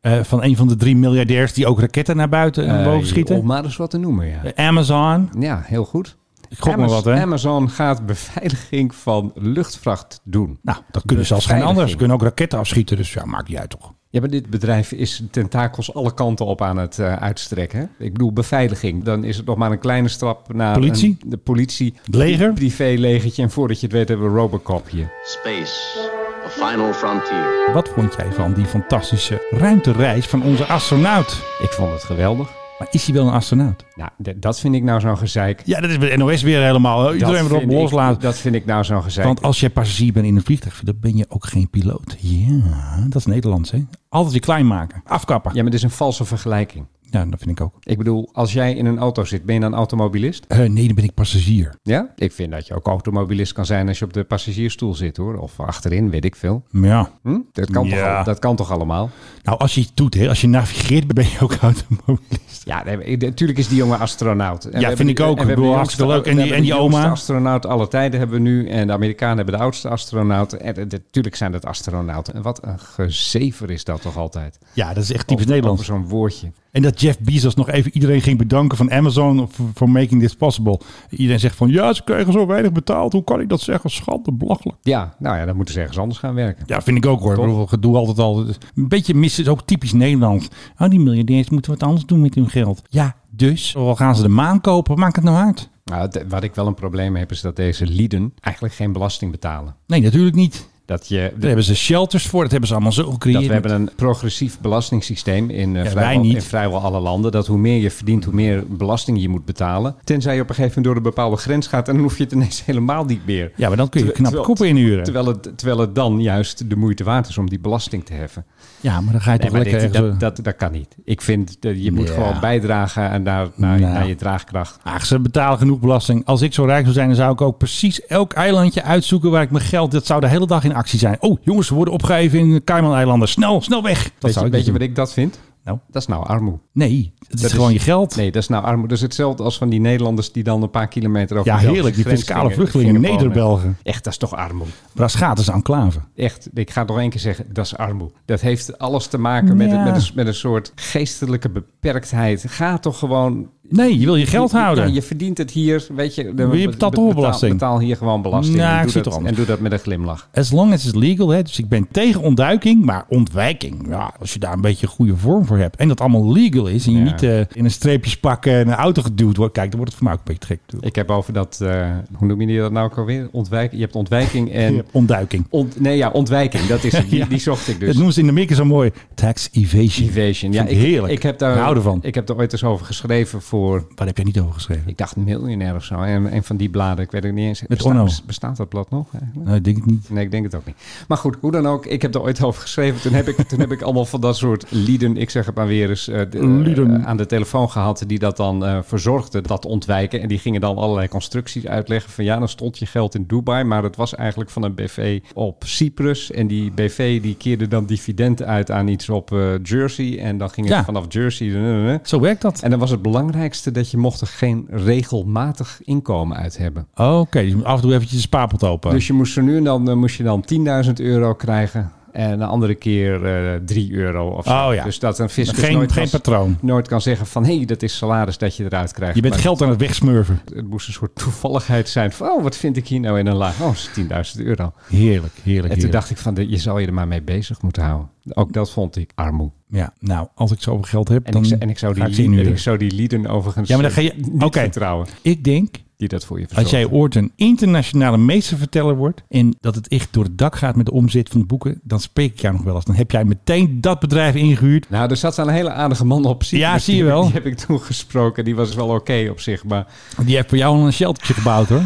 [SPEAKER 2] Eh, van een van de drie miljardairs die ook raketten naar buiten en boven
[SPEAKER 3] Eh,
[SPEAKER 2] schieten.
[SPEAKER 3] Om maar eens wat te noemen, ja.
[SPEAKER 2] Amazon.
[SPEAKER 3] Ja, heel goed.
[SPEAKER 2] Ik gok maar
[SPEAKER 3] Amazon,
[SPEAKER 2] wat, hè?
[SPEAKER 3] Amazon gaat beveiliging van luchtvracht doen.
[SPEAKER 2] Nou, dat kunnen ze als geen
[SPEAKER 3] Beveiliging.
[SPEAKER 2] ander. Ze kunnen ook raketten afschieten, dus ja, maakt niet uit toch?
[SPEAKER 3] Ja, maar dit bedrijf is tentakels alle kanten op aan het eh, uitstrekken. hè? Ik bedoel, beveiliging. Dan is het nog maar een kleine stap naar
[SPEAKER 2] Politie?
[SPEAKER 3] een- de politie.
[SPEAKER 2] Het leger?
[SPEAKER 3] Een privélegertje. En voordat je het weet hebben we Robocop hier.
[SPEAKER 12] Space, the final frontier.
[SPEAKER 2] Wat vond jij van die fantastische ruimtereis van onze astronaut?
[SPEAKER 3] Ik vond het geweldig.
[SPEAKER 2] Maar is hij wel een astronaut?
[SPEAKER 3] Nou, d- dat vind ik nou zo'n gezeik.
[SPEAKER 2] Ja, dat is bij de NOS weer helemaal. eh, Iedereen
[SPEAKER 3] dat
[SPEAKER 2] erop
[SPEAKER 3] vind ik-
[SPEAKER 2] loslaten.
[SPEAKER 3] Dat vind ik nou zo'n gezeik.
[SPEAKER 2] Want als jij passagier bent in een vliegtuig, dan ben je ook geen piloot. Ja, dat is Nederlands, hè? Altijd je klein maken. Afkappen.
[SPEAKER 3] Ja,
[SPEAKER 2] Ja,
[SPEAKER 3] maar dit is een valse vergelijking.
[SPEAKER 2] dat vind ik ook.
[SPEAKER 3] Ik bedoel, als jij in een auto zit, ben je dan automobilist?
[SPEAKER 2] Eh, nee, dan ben ik passagier.
[SPEAKER 3] Ja? Ik vind dat je ook automobilist kan zijn als je op de passagiersstoel zit, hoor. Of achterin, weet ik veel.
[SPEAKER 2] Ja.
[SPEAKER 3] Hm? Dat, kan
[SPEAKER 2] Ja.
[SPEAKER 3] toch, al- dat kan toch allemaal?
[SPEAKER 2] Nou, als je iets doet, hè, als je navigeert, ben je ook automobilist.
[SPEAKER 3] Ja, natuurlijk is die jongen astronaut. En we hebben
[SPEAKER 2] vind ik
[SPEAKER 3] die-
[SPEAKER 2] ook.
[SPEAKER 3] en we
[SPEAKER 2] Ik
[SPEAKER 3] hebben
[SPEAKER 2] bedoel,
[SPEAKER 3] de
[SPEAKER 2] hartstikke
[SPEAKER 3] jongste-
[SPEAKER 2] leuk. En die-
[SPEAKER 3] we hebben
[SPEAKER 2] en die
[SPEAKER 3] de jongste
[SPEAKER 2] oma.
[SPEAKER 3] astronaut alle tijden hebben we nu. En de Amerikanen hebben de oudste astronaut. En eh, natuurlijk zijn dat astronauten. En wat een gezever is dat toch altijd.
[SPEAKER 2] Ja, dat is echt
[SPEAKER 3] Over-
[SPEAKER 2] typisch Nederlands.
[SPEAKER 3] Over zo'n woordje.
[SPEAKER 2] En dat Jeff Bezos nog even iedereen ging bedanken van Amazon voor- voor making this possible. Iedereen zegt van ja, ze kregen zo weinig betaald. Hoe kan ik dat zeggen? Schande, belachelijk.
[SPEAKER 3] Ja, nou ja, dan moeten ze ergens anders gaan werken.
[SPEAKER 2] Ja, vind ik ook hoor. Ik bedoel, Gedoe altijd al. Een beetje mis is ook typisch Nederland. Oh, die miljardairs moeten wat anders doen met hun geld. Ja, dus. Al gaan ze de maan kopen, maakt het nou uit?
[SPEAKER 3] Nou, het- wat ik wel een probleem mee heb, is dat deze lieden eigenlijk geen belasting betalen.
[SPEAKER 2] Nee, natuurlijk niet.
[SPEAKER 3] Dat je...
[SPEAKER 2] Daar hebben ze shelters voor. Dat hebben ze allemaal zo gecreëerd.
[SPEAKER 3] Dat we hebben een progressief belastingssysteem in, eh,
[SPEAKER 2] wij
[SPEAKER 3] vrijwel,
[SPEAKER 2] niet.
[SPEAKER 3] in vrijwel alle landen. Dat hoe meer je verdient, hoe meer belasting je moet betalen. Tenzij je op een gegeven moment door een bepaalde grens gaat en dan hoef je het ineens helemaal niet meer.
[SPEAKER 2] Ja, maar dan kun je
[SPEAKER 3] Terwijl-
[SPEAKER 2] knap
[SPEAKER 3] terwijl-
[SPEAKER 2] koppen inhuren.
[SPEAKER 3] Terwijl het, terwijl het dan juist de moeite waard is om die belasting te heffen.
[SPEAKER 2] ja, maar dan ga je
[SPEAKER 3] Nee,
[SPEAKER 2] toch
[SPEAKER 3] maar
[SPEAKER 2] lekker
[SPEAKER 3] dit-
[SPEAKER 2] ergens,
[SPEAKER 3] dat,
[SPEAKER 2] eh,
[SPEAKER 3] dat, dat kan niet. Ik vind, dat je moet
[SPEAKER 2] Ja.
[SPEAKER 3] gewoon bijdragen aan daar, naar,
[SPEAKER 2] Nou.
[SPEAKER 3] naar je draagkracht.
[SPEAKER 2] Ach, ze betalen genoeg belasting. Als ik zo rijk zou zijn, dan zou ik ook precies elk eilandje uitzoeken waar ik mijn geld... Dat zou de hele dag in actie zijn. Oh, jongens, we worden opgegeven in de Cayman-eilanden. Snel, snel weg. Dat
[SPEAKER 3] Weet,
[SPEAKER 2] zou
[SPEAKER 3] je,
[SPEAKER 2] ik
[SPEAKER 3] weet je
[SPEAKER 2] niet
[SPEAKER 3] wat ik dat vind?
[SPEAKER 2] Nou?
[SPEAKER 3] Dat is nou armoe.
[SPEAKER 2] doen. Nee, het is
[SPEAKER 3] Dat
[SPEAKER 2] gewoon
[SPEAKER 3] is-
[SPEAKER 2] je geld.
[SPEAKER 3] Nee, dat is nou armoe. Dat is hetzelfde als van die Nederlanders die dan een paar kilometer over
[SPEAKER 2] ja,
[SPEAKER 3] de Belgische
[SPEAKER 2] heerlijk. Die
[SPEAKER 3] grens
[SPEAKER 2] fiscale
[SPEAKER 3] gingen-
[SPEAKER 2] vluchtelingen in
[SPEAKER 3] gingen wonen.
[SPEAKER 2] Neder-Belgen.
[SPEAKER 3] Echt, dat is toch armoe.
[SPEAKER 2] Braschaat is enclave.
[SPEAKER 3] Echt, ik ga het nog één keer zeggen, dat is armoe. Dat heeft alles te maken met,
[SPEAKER 2] Ja.
[SPEAKER 3] het- met, een, met een soort geestelijke beperktheid. Ga toch gewoon
[SPEAKER 2] Nee, je wil je geld
[SPEAKER 3] Je- je-
[SPEAKER 2] houden.
[SPEAKER 3] ja, je verdient het hier, weet je.
[SPEAKER 2] Wil je betaalt toch wel belasting?
[SPEAKER 3] Betaal, hier gewoon belasting.
[SPEAKER 2] Nou,
[SPEAKER 3] en,
[SPEAKER 2] ik
[SPEAKER 3] doe
[SPEAKER 2] zie het
[SPEAKER 3] dat,
[SPEAKER 2] anders.
[SPEAKER 3] en doe dat met een glimlach.
[SPEAKER 2] As long as it's legal, hè. dus ik ben tegen ontduiking, maar ontwijking. Ja, als je daar een beetje een goede vorm voor hebt en dat allemaal legal is en je
[SPEAKER 3] Ja.
[SPEAKER 2] niet eh, in een streepjes pakken en een auto geduwd wordt, kijk, dan wordt het voor mij ook een beetje gek. natuurlijk.
[SPEAKER 3] Ik heb over dat, eh, hoe noem je dat nou ook alweer? Ontwijk, je hebt ontwijking en...
[SPEAKER 2] Je hebt ontduiking.
[SPEAKER 3] ont- nee, ja, ontwijking. Dat is het. Die,
[SPEAKER 2] Ja.
[SPEAKER 3] die zocht ik
[SPEAKER 2] Dat
[SPEAKER 3] dus.
[SPEAKER 2] noemen ze in de Amerika zo mooi tax evasion.
[SPEAKER 3] Evasion. Ja,
[SPEAKER 2] Vind
[SPEAKER 3] ik,
[SPEAKER 2] ik heerlijk.
[SPEAKER 3] Ik heb daar,
[SPEAKER 2] Ik hou ervan.
[SPEAKER 3] Ik heb er ooit eens over geschreven voor,
[SPEAKER 2] Waar heb jij niet over geschreven?
[SPEAKER 3] ik dacht, miljonair of zo. En een van die bladen, ik weet het niet eens.
[SPEAKER 2] Met Onno.
[SPEAKER 3] Bestaat dat blad nog eigenlijk?
[SPEAKER 2] Nou, ik denk het niet.
[SPEAKER 3] Nee, ik denk het ook niet. Maar goed, hoe dan ook. Ik heb er ooit over geschreven. Toen heb ik, toen heb ik allemaal van dat soort lieden, ik zeg het maar weer eens, eh, de-
[SPEAKER 2] Mm, Lieden.
[SPEAKER 3] eh, aan de telefoon gehad. Die dat dan eh, verzorgden, dat ontwijken. En die gingen dan allerlei constructies uitleggen. Van ja, dan stond je geld in Dubai. Maar het was eigenlijk van een BV op Cyprus. En die BV die keerde dan dividend uit aan iets op eh, Jersey. En dan ging het
[SPEAKER 2] Ja.
[SPEAKER 3] vanaf Jersey. eh, eh, eh.
[SPEAKER 2] Zo werkt dat.
[SPEAKER 3] En dan was het belangrijkste dat je mocht er geen regelmatig inkomen uit hebben.
[SPEAKER 2] Oké, dus je moet af en toe eventjes de spapelt open.
[SPEAKER 3] Dus je moest zo nu en dan, eh, moest je dan 10.000 euro krijgen. En de andere keer eh 3 euro of zo.
[SPEAKER 2] Oh ja.
[SPEAKER 3] Dus dat een fiscus
[SPEAKER 2] Geen-
[SPEAKER 3] nooit,
[SPEAKER 2] geen
[SPEAKER 3] kan-
[SPEAKER 2] patroon.
[SPEAKER 3] nooit kan zeggen van... hé, hey, dat is salaris dat je eruit krijgt.
[SPEAKER 2] je bent
[SPEAKER 3] Maar
[SPEAKER 2] geld aan het wegsmurven.
[SPEAKER 3] Het moest een soort toevalligheid zijn van... oh, wat vind ik hier nou in een laag? Oh, dat is 10.000 euro.
[SPEAKER 2] Heerlijk, heerlijk.
[SPEAKER 3] En toen
[SPEAKER 2] heerlijk.
[SPEAKER 3] dacht ik van, je zou je er maar mee bezig moeten houden. Ook dat vond ik armoe.
[SPEAKER 2] Ja, nou, als ik zoveel geld heb,
[SPEAKER 3] En,
[SPEAKER 2] dan
[SPEAKER 3] ik, zou- en ik zou
[SPEAKER 2] ga
[SPEAKER 3] die,
[SPEAKER 2] ik ze
[SPEAKER 3] lieden, en
[SPEAKER 2] inhuren.
[SPEAKER 3] ik zou die lieden overigens
[SPEAKER 2] dus. Ja, maar dan ga je-
[SPEAKER 3] eh, niet
[SPEAKER 2] oké.
[SPEAKER 3] vertrouwen.
[SPEAKER 2] Ik denk
[SPEAKER 3] Die dat voor je
[SPEAKER 2] Als
[SPEAKER 3] verzorgen.
[SPEAKER 2] jij ooit een internationale meesterverteller wordt en dat het echt door het dak gaat met de omzet van de boeken, dan spreek ik jou nog wel eens. Dan heb jij meteen dat bedrijf ingehuurd.
[SPEAKER 3] Nou, er zat een hele aardige man op. zich.
[SPEAKER 2] Ja,
[SPEAKER 3] Dus
[SPEAKER 2] zie je
[SPEAKER 3] die-
[SPEAKER 2] wel.
[SPEAKER 3] Die heb ik toen gesproken. Die was wel oké op zich, maar...
[SPEAKER 2] Die heeft voor jou al een sheltertje gebouwd hoor.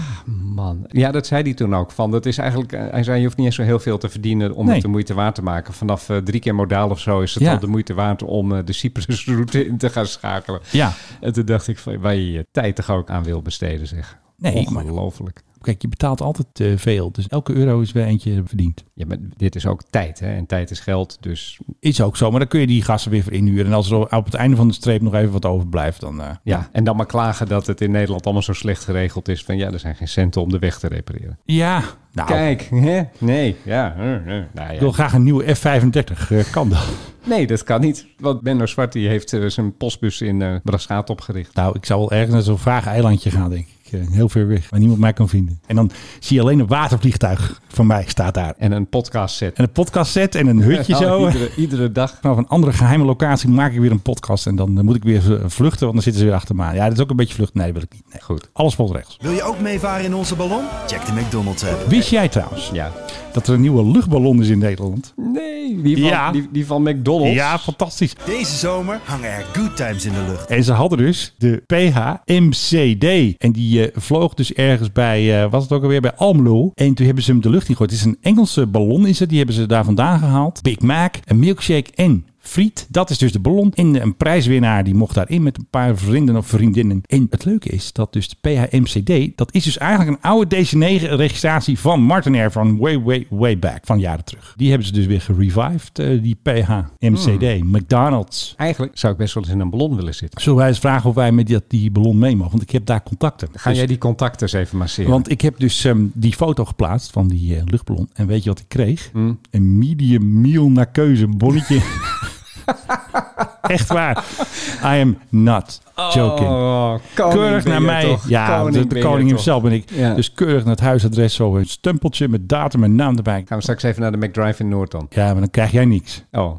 [SPEAKER 3] Man. Ja, dat zei hij toen ook. Van, dat is eigenlijk, eh, hij zei, je hoeft niet eens zo heel veel te verdienen om
[SPEAKER 2] Nee.
[SPEAKER 3] het de moeite waard te maken. Vanaf eh, drie keer modaal of zo is het
[SPEAKER 2] Ja.
[SPEAKER 3] al de moeite waard om eh, de Cyprusroute in te gaan schakelen.
[SPEAKER 2] Ja.
[SPEAKER 3] En toen dacht ik, van, waar je je tijd toch ook aan wil besteden, zeg.
[SPEAKER 2] Nee, maar-
[SPEAKER 3] Ongelooflijk.
[SPEAKER 2] Kijk, je betaalt altijd eh, veel. Dus elke euro is weer eentje verdiend.
[SPEAKER 3] Ja, maar dit is ook tijd, hè. En tijd is geld, dus
[SPEAKER 2] Is ook zo, maar dan kun je die gasten weer voor inhuren. En als er op het einde van de streep nog even wat overblijft, dan... eh,
[SPEAKER 3] ja. En dan maar klagen dat het in Nederland allemaal zo slecht geregeld is. Van ja, er zijn geen centen om de weg te repareren.
[SPEAKER 2] Ja, nou...
[SPEAKER 3] Kijk, hè? Nee, ja. eh, eh. Nou,
[SPEAKER 2] Ik
[SPEAKER 3] ja.
[SPEAKER 2] wil graag een nieuwe F35. Eh, kan dat?
[SPEAKER 3] Nee, dat kan niet. Want Benno Zwart die heeft eh, zijn postbus in eh Brasschaat opgericht.
[SPEAKER 2] Nou, ik zou wel ergens naar zo'n vaag eilandje gaan, denk ik. Eh, Heel ver weg, waar niemand mij kan vinden. En dan zie je alleen een watervliegtuig van mij staat daar.
[SPEAKER 3] En een podcast set.
[SPEAKER 2] En een podcast set en een hutje
[SPEAKER 3] Nou,
[SPEAKER 2] zo.
[SPEAKER 3] Iedere, iedere dag.
[SPEAKER 2] Vanaf een andere geheime locatie maak ik weer een podcast. En dan eh, moet ik weer eh, vluchten, want dan zitten ze weer achter me aan. Ja, dat is ook een beetje vluchten. Nee, dat wil ik niet. Nee.
[SPEAKER 3] Goed.
[SPEAKER 2] Alles vol rechts.
[SPEAKER 13] Wil je ook meevaren in onze ballon? Check de McDonald's app.
[SPEAKER 2] Wist jij trouwens
[SPEAKER 3] Ja.
[SPEAKER 2] dat er een nieuwe luchtballon is in Nederland?
[SPEAKER 3] Nee, die van,
[SPEAKER 2] Ja.
[SPEAKER 3] die, die van McDonald's.
[SPEAKER 2] Ja, fantastisch.
[SPEAKER 13] Deze zomer hangen er good times in de lucht.
[SPEAKER 2] En ze hadden dus de PHMCD. En die eh, vloog dus ergens bij, eh, was het ook alweer, bij Almelo. En toen hebben ze hem de lucht ingegooid. Het is een Engelse ballon is het. Die hebben ze daar vandaan gehaald. Big Mac, een milkshake en friet. Dat is dus de ballon. En een prijswinnaar die mocht daarin met een paar vrienden of vriendinnen. En het leuke is dat dus de PHMCD, dat is dus eigenlijk een oude DC9 E registratie van Martin Air van way, way, way back. Van jaren terug. Die hebben ze dus weer gerevived, eh, die PHMCD. McDonald's.
[SPEAKER 3] Eigenlijk zou ik best wel eens in een ballon willen zitten.
[SPEAKER 2] Zullen wij eens vragen of wij met die, die ballon mee mogen? Want ik heb daar contacten.
[SPEAKER 3] Ga
[SPEAKER 2] Dus-
[SPEAKER 3] jij die contacten eens even masseren?
[SPEAKER 2] Want ik heb dus ehm, die foto geplaatst van die eh, luchtballon. En weet je wat ik kreeg?
[SPEAKER 3] Hm.
[SPEAKER 2] Een medium meal naar keuze bonnetje. Echt waar. I am not joking.
[SPEAKER 3] Oh, koning
[SPEAKER 2] keurig
[SPEAKER 3] ben
[SPEAKER 2] naar
[SPEAKER 3] je
[SPEAKER 2] mij.
[SPEAKER 3] toch.
[SPEAKER 2] Ja,
[SPEAKER 3] Koning
[SPEAKER 2] de, de
[SPEAKER 3] ben je
[SPEAKER 2] koning
[SPEAKER 3] toch.
[SPEAKER 2] hemzelf ben ik.
[SPEAKER 3] Ja.
[SPEAKER 2] Dus keurig naar het huisadres. Zo een stempeltje met datum en naam erbij.
[SPEAKER 3] Gaan we straks even naar de McDrive in Noord dan.
[SPEAKER 2] Ja, maar dan krijg jij niks.
[SPEAKER 3] Oh,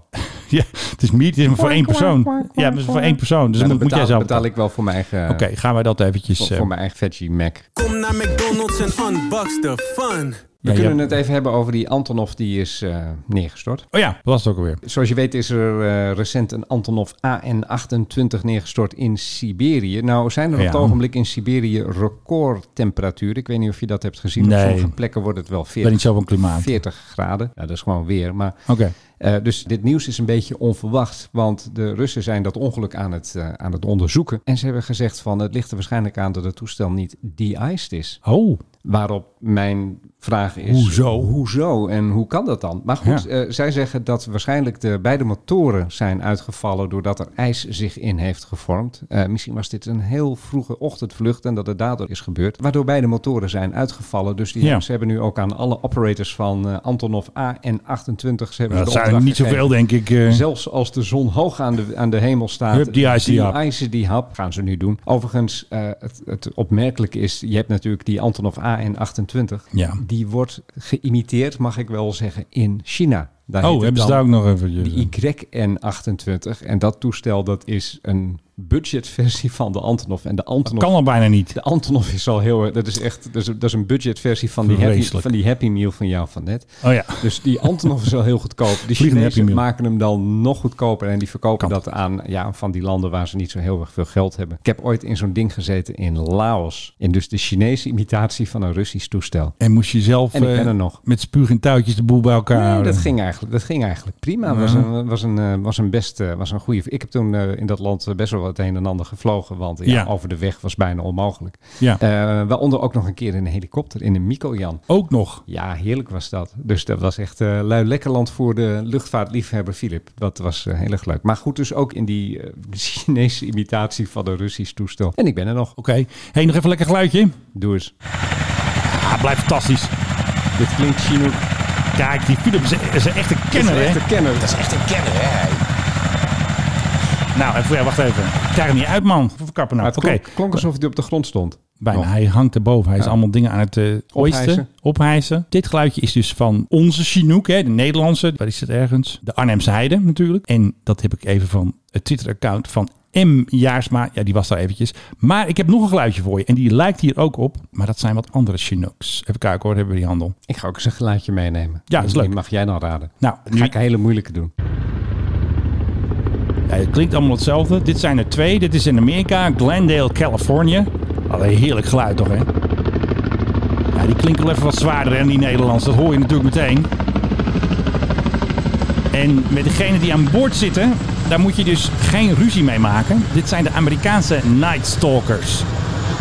[SPEAKER 2] Ja, het is, medium voor één persoon. Ja, maar het is voor één persoon. Dus
[SPEAKER 3] Nou,
[SPEAKER 2] dan
[SPEAKER 3] dan
[SPEAKER 2] moet jij
[SPEAKER 3] betaal,
[SPEAKER 2] zelf
[SPEAKER 3] betaal
[SPEAKER 2] betalen.
[SPEAKER 3] ik wel voor mijn eigen,
[SPEAKER 2] Oké, gaan wij dat eventjes...
[SPEAKER 3] voor,
[SPEAKER 2] eh,
[SPEAKER 3] voor mijn eigen veggie Mac.
[SPEAKER 14] Kom naar McDonald's en unbox the fun.
[SPEAKER 3] We
[SPEAKER 2] ja,
[SPEAKER 3] kunnen
[SPEAKER 2] ja.
[SPEAKER 3] het even hebben over die Antonov die is eh, neergestort.
[SPEAKER 2] Oh ja, dat was het ook alweer.
[SPEAKER 3] Zoals je weet is er eh, recent een Antonov AN-28 neergestort in Siberië. Nou zijn er op
[SPEAKER 2] Ja.
[SPEAKER 3] het ogenblik in Siberië recordtemperaturen. Ik weet niet of je dat hebt gezien.
[SPEAKER 2] Nee.
[SPEAKER 3] Op sommige plekken wordt het wel
[SPEAKER 2] Ik ben niet
[SPEAKER 3] 40,
[SPEAKER 2] zo van klimaat.
[SPEAKER 3] 40 graden. Nou, dat is gewoon weer. Maar,
[SPEAKER 2] Oké.
[SPEAKER 3] eh, dus dit nieuws is een beetje onverwacht. Want de Russen zijn dat ongeluk aan het, eh, aan het onderzoeken. En ze hebben gezegd van het ligt er waarschijnlijk aan dat het toestel niet de-iced is.
[SPEAKER 2] Oh,
[SPEAKER 3] Waarop mijn vraag is...
[SPEAKER 2] Hoezo?
[SPEAKER 3] Hoezo en hoe kan dat dan? Maar goed,
[SPEAKER 2] Ja.
[SPEAKER 3] eh, zij zeggen dat waarschijnlijk de beide motoren zijn uitgevallen... doordat er ijs zich in heeft gevormd. Eh, misschien was dit een heel vroege ochtendvlucht en dat het daardoor is gebeurd. Waardoor beide motoren zijn uitgevallen. Dus die
[SPEAKER 2] Ja.
[SPEAKER 3] ze hebben nu ook aan alle operators van eh, Antonov A en 28... Ze hebben
[SPEAKER 2] dat
[SPEAKER 3] ze
[SPEAKER 2] zijn Nou, niet zoveel, denk ik. eh.
[SPEAKER 3] Zelfs als de zon hoog aan de, aan de hemel staat.
[SPEAKER 2] Hup, die icy hap.
[SPEAKER 3] icy die hap gaan ze nu doen. Overigens, eh, het, het opmerkelijke is, je hebt natuurlijk die Antonov AN-28.
[SPEAKER 2] Ja.
[SPEAKER 3] Die wordt geïmiteerd, mag ik wel zeggen, in China. Daar
[SPEAKER 2] Oh,
[SPEAKER 3] heet het
[SPEAKER 2] hebben ze
[SPEAKER 3] dan
[SPEAKER 2] daar ook nog eventjes eh.
[SPEAKER 3] De YN-28. En dat toestel, dat is een budgetversie van de Antonov. En de Antonov...
[SPEAKER 2] kan al bijna niet.
[SPEAKER 3] De Antonov is al heel... erg- Dat is echt... Dat is, dat is een budgetversie van die, happy,
[SPEAKER 2] Vreselijk.
[SPEAKER 3] van die Happy Meal van jou van net.
[SPEAKER 2] Oh ja.
[SPEAKER 3] Dus die Antonov is al heel goedkoop. Die
[SPEAKER 2] Vliegende Happy
[SPEAKER 3] Chinezen
[SPEAKER 2] Meal.
[SPEAKER 3] maken hem dan nog goedkoper. En die verkopen dat aan ja, van die landen waar ze niet zo heel erg veel geld hebben. Ik heb ooit in zo'n ding gezeten in Laos. In dus de Chinese imitatie van een Russisch toestel.
[SPEAKER 2] En moest je zelf
[SPEAKER 3] En ik ben
[SPEAKER 2] eh,
[SPEAKER 3] er nog.
[SPEAKER 2] met spuug en touwtjes de boel bij elkaar
[SPEAKER 3] Nee,
[SPEAKER 2] houden?
[SPEAKER 3] dat ging eigenlijk, dat ging eigenlijk prima. Het Was,
[SPEAKER 2] Ja.
[SPEAKER 3] een, was, een, eh, was een best eh, was een goede. Ik heb toen eh, in dat land eh, best wel het een en ander gevlogen. Want ja,
[SPEAKER 2] Ja.
[SPEAKER 3] over de weg was bijna onmogelijk.
[SPEAKER 2] Ja.
[SPEAKER 3] Eh, waaronder ook nog een keer in een helikopter in een Mikojan.
[SPEAKER 2] Ook nog.
[SPEAKER 3] Ja, heerlijk was dat. Dus dat was echt eh lui lekker land voor de luchtvaartliefhebber Filip. Dat was eh, heel erg leuk. Maar goed, dus ook in die eh, Chinese imitatie van een Russisch toestel. En ik ben er nog.
[SPEAKER 2] Oké. Hey, nog even lekker geluidje.
[SPEAKER 3] Doe eens.
[SPEAKER 2] Ah, blijft fantastisch.
[SPEAKER 3] Dit klinkt Chinook.
[SPEAKER 2] Kijk, die Philip is, is een echte kenner, hè?
[SPEAKER 3] echt een kenner.
[SPEAKER 10] Dat is echt een kenner, hè? hij.
[SPEAKER 2] Nou, even, ja, wacht even. Ik krijg hem niet uit, man. Voor kappen nou.
[SPEAKER 3] Maar het
[SPEAKER 2] Oké.
[SPEAKER 3] klonk, klonk alsof hij op de grond stond.
[SPEAKER 2] Bijna.
[SPEAKER 3] Nog.
[SPEAKER 2] Hij hangt erboven. Hij is
[SPEAKER 3] Ja.
[SPEAKER 2] allemaal dingen aan het eh oisten,
[SPEAKER 3] Ophijsen.
[SPEAKER 2] ophijsen. Dit geluidje is dus van onze Chinook, hè, de Nederlandse. Waar is het ergens? De Arnhemse Heide natuurlijk. En dat heb ik even van het Twitter-account van M. Jaarsma. Ja, die was daar eventjes. Maar ik heb nog een geluidje voor je. En die lijkt hier ook op. Maar dat zijn wat andere Chinooks. Even kijken hoor, hebben we die handel.
[SPEAKER 3] Ik ga ook eens een geluidje meenemen.
[SPEAKER 2] Ja, dat is
[SPEAKER 3] Die
[SPEAKER 2] leuk.
[SPEAKER 3] mag jij dan raden.
[SPEAKER 2] Nou,
[SPEAKER 3] Dan ga ik een hele moeilijke doen.
[SPEAKER 2] Ja, het eh, klinkt allemaal hetzelfde. Dit zijn er twee. Dit is in Amerika, Glendale, Californië. Wat een heerlijk geluid toch, hè? Ja, die klinken wel even wat zwaarder, hè, die Nederlands. Dat hoor je natuurlijk meteen. En met degene die aan boord zitten, daar moet je dus geen ruzie mee maken. Dit zijn de Amerikaanse Night Stalkers.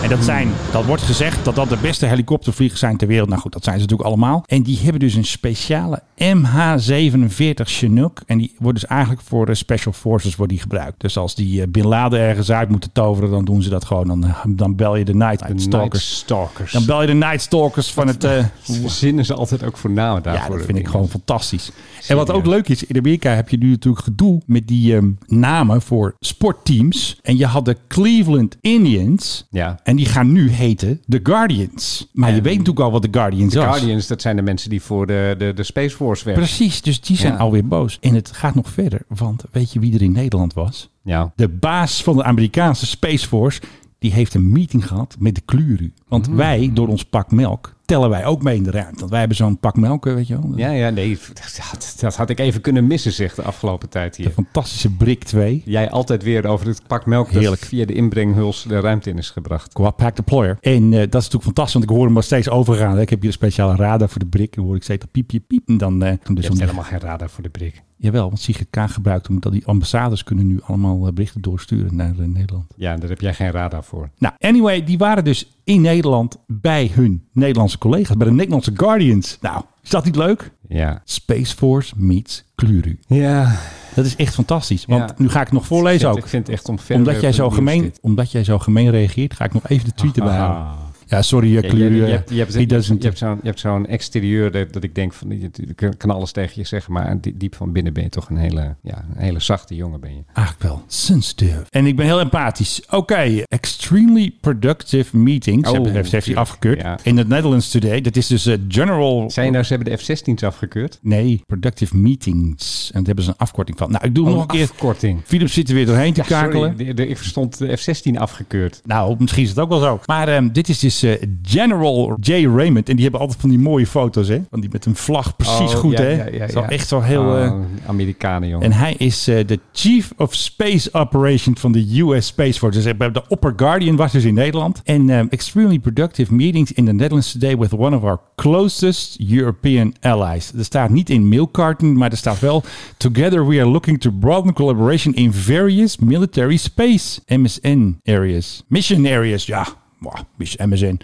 [SPEAKER 2] En dat zijn, dat wordt gezegd dat dat de beste helikoptervliegers zijn ter wereld. Nou goed, dat zijn ze natuurlijk allemaal. En die hebben dus een speciale MH17 Chinook. En die wordt dus eigenlijk voor de Special Forces wordt die gebruikt. Dus als die eh, Bin Laden ergens uit moeten toveren, dan doen ze dat gewoon. Dan, dan bel je de Night
[SPEAKER 3] De Night
[SPEAKER 2] Stalkers.
[SPEAKER 3] Stalkers.
[SPEAKER 2] Dan bel je de Night Stalkers van het... eh,
[SPEAKER 3] Ze verzinnen ze altijd ook voor namen daarvoor.
[SPEAKER 2] ja, dat vind ik gewoon fantastisch. En
[SPEAKER 3] Serieus.
[SPEAKER 2] wat ook leuk is, in Amerika heb je nu natuurlijk gedoe met die ehm, namen voor sportteams. En je had de Cleveland Indians.
[SPEAKER 3] Ja.
[SPEAKER 2] En die gaan nu heten de Guardians. Maar je
[SPEAKER 3] En
[SPEAKER 2] weet natuurlijk al wat de Guardians
[SPEAKER 3] De
[SPEAKER 2] was.
[SPEAKER 3] Guardians, dat zijn de mensen die voor de, de, de Space Force werken.
[SPEAKER 2] Precies, dus die zijn
[SPEAKER 3] Ja.
[SPEAKER 2] alweer boos. En het gaat nog verder, want weet je wie er in Nederland was?
[SPEAKER 3] Ja.
[SPEAKER 2] De baas van de Amerikaanse Space Force, die heeft een meeting gehad met de Kluru. Want wij, door ons pak melk, tellen wij ook mee in de ruimte. Want wij hebben zo'n pak melk, eh, weet je wel.
[SPEAKER 3] Ja, ja, nee. Dat, had- dat had ik even kunnen missen, zeg, de afgelopen tijd
[SPEAKER 2] De
[SPEAKER 3] hier.
[SPEAKER 2] fantastische Brik 2.
[SPEAKER 3] Jij altijd weer over het pak melk dat
[SPEAKER 2] Heerlijk.
[SPEAKER 3] via de inbrenghuls de ruimte in is gebracht.
[SPEAKER 2] Qua Pack Deployer. En eh, dat is natuurlijk fantastisch, want ik hoor hem maar steeds overgaan. hè. Ik heb hier een speciale radar voor de brik. Dan hoor ik steeds dat piepje piep. En dan eh, dan dus
[SPEAKER 3] Je hebt
[SPEAKER 2] om-
[SPEAKER 3] helemaal geen radar voor de brik.
[SPEAKER 2] Jawel, want Sigrid K gebruikt omdat die ambassades kunnen nu allemaal eh, berichten doorsturen naar eh, Nederland.
[SPEAKER 3] Ja, daar heb jij geen radar voor.
[SPEAKER 2] Nou, anyway, die waren dus in Nederland bij hun Nederlandse collega's, bij de Nederlandse Guardians. Nou, is dat niet leuk?
[SPEAKER 3] Ja.
[SPEAKER 2] Space Force meets Kluru.
[SPEAKER 3] Ja.
[SPEAKER 2] Dat is echt fantastisch, want
[SPEAKER 3] Ja.
[SPEAKER 2] nu ga ik het nog
[SPEAKER 3] Ik
[SPEAKER 2] voorlezen
[SPEAKER 3] vind,
[SPEAKER 2] ook.
[SPEAKER 3] ik vind het echt onverwerpend
[SPEAKER 2] Omdat jij, zo
[SPEAKER 3] nieuws
[SPEAKER 2] gemeen,
[SPEAKER 3] dit.
[SPEAKER 2] omdat jij zo gemeen reageert, ga ik nog even de tweet erbij
[SPEAKER 3] Aha.
[SPEAKER 2] halen. Ja, sorry, eh,
[SPEAKER 3] Ja, je,
[SPEAKER 2] Kluru.
[SPEAKER 3] je
[SPEAKER 2] eh,
[SPEAKER 3] hebt, je hebt,
[SPEAKER 2] he
[SPEAKER 3] je hebt,
[SPEAKER 2] doesn't-
[SPEAKER 3] je hebt zo'n, je hebt zo'n exterieur dat, dat ik denk van, je- je kan alles tegen je zeggen, maar die- diep van binnen ben je toch een hele, ja, een hele zachte jongen ben je.
[SPEAKER 2] Eigenlijk Ah, wel. Sensitive. En ik ben heel empathisch. Oké, extremely productive meetings.
[SPEAKER 3] Oh,
[SPEAKER 2] Hebben- heeft, heeft hij
[SPEAKER 3] tuurlijk,
[SPEAKER 2] afgekeurd.
[SPEAKER 3] ja.
[SPEAKER 2] In het Netherlands Today. Dat is dus eh, General...
[SPEAKER 3] Zijn nou, ze hebben de F-16's afgekeurd?
[SPEAKER 2] Nee, productive meetings. En daar hebben ze een afkorting van. Nou, ik doe
[SPEAKER 3] Oh,
[SPEAKER 2] hem nog een keer.
[SPEAKER 3] afkorting.
[SPEAKER 2] Philip zit er weer doorheen te
[SPEAKER 3] Ja, sorry,
[SPEAKER 2] kakelen.
[SPEAKER 3] de- de- ik verstond de F-16 afgekeurd.
[SPEAKER 2] Nou, misschien is het ook wel zo. Maar ehm, dit is dus eh, General J. Raymond. En die hebben altijd van die mooie foto's, hè? Van die met een vlag precies
[SPEAKER 3] Oh,
[SPEAKER 2] goed,
[SPEAKER 3] ja,
[SPEAKER 2] hè?
[SPEAKER 3] ja, ja,
[SPEAKER 2] Zo
[SPEAKER 3] ja.
[SPEAKER 2] Echt zo heel... eh,
[SPEAKER 3] Oh, Amerikanen, jongen.
[SPEAKER 2] En hij is eh, de Chief of Space Operation van de US Space Force. Dus eh, bij de Upper Guardian was dus in Nederland. En ehm, extremely productive meetings in the Netherlands today with one of our closest European allies. Er staat niet in mailkarten, maar er staat wel... Together we are looking to broaden collaboration in various military space MSN areas. Mission areas, ja. Mwah, mis- MSN.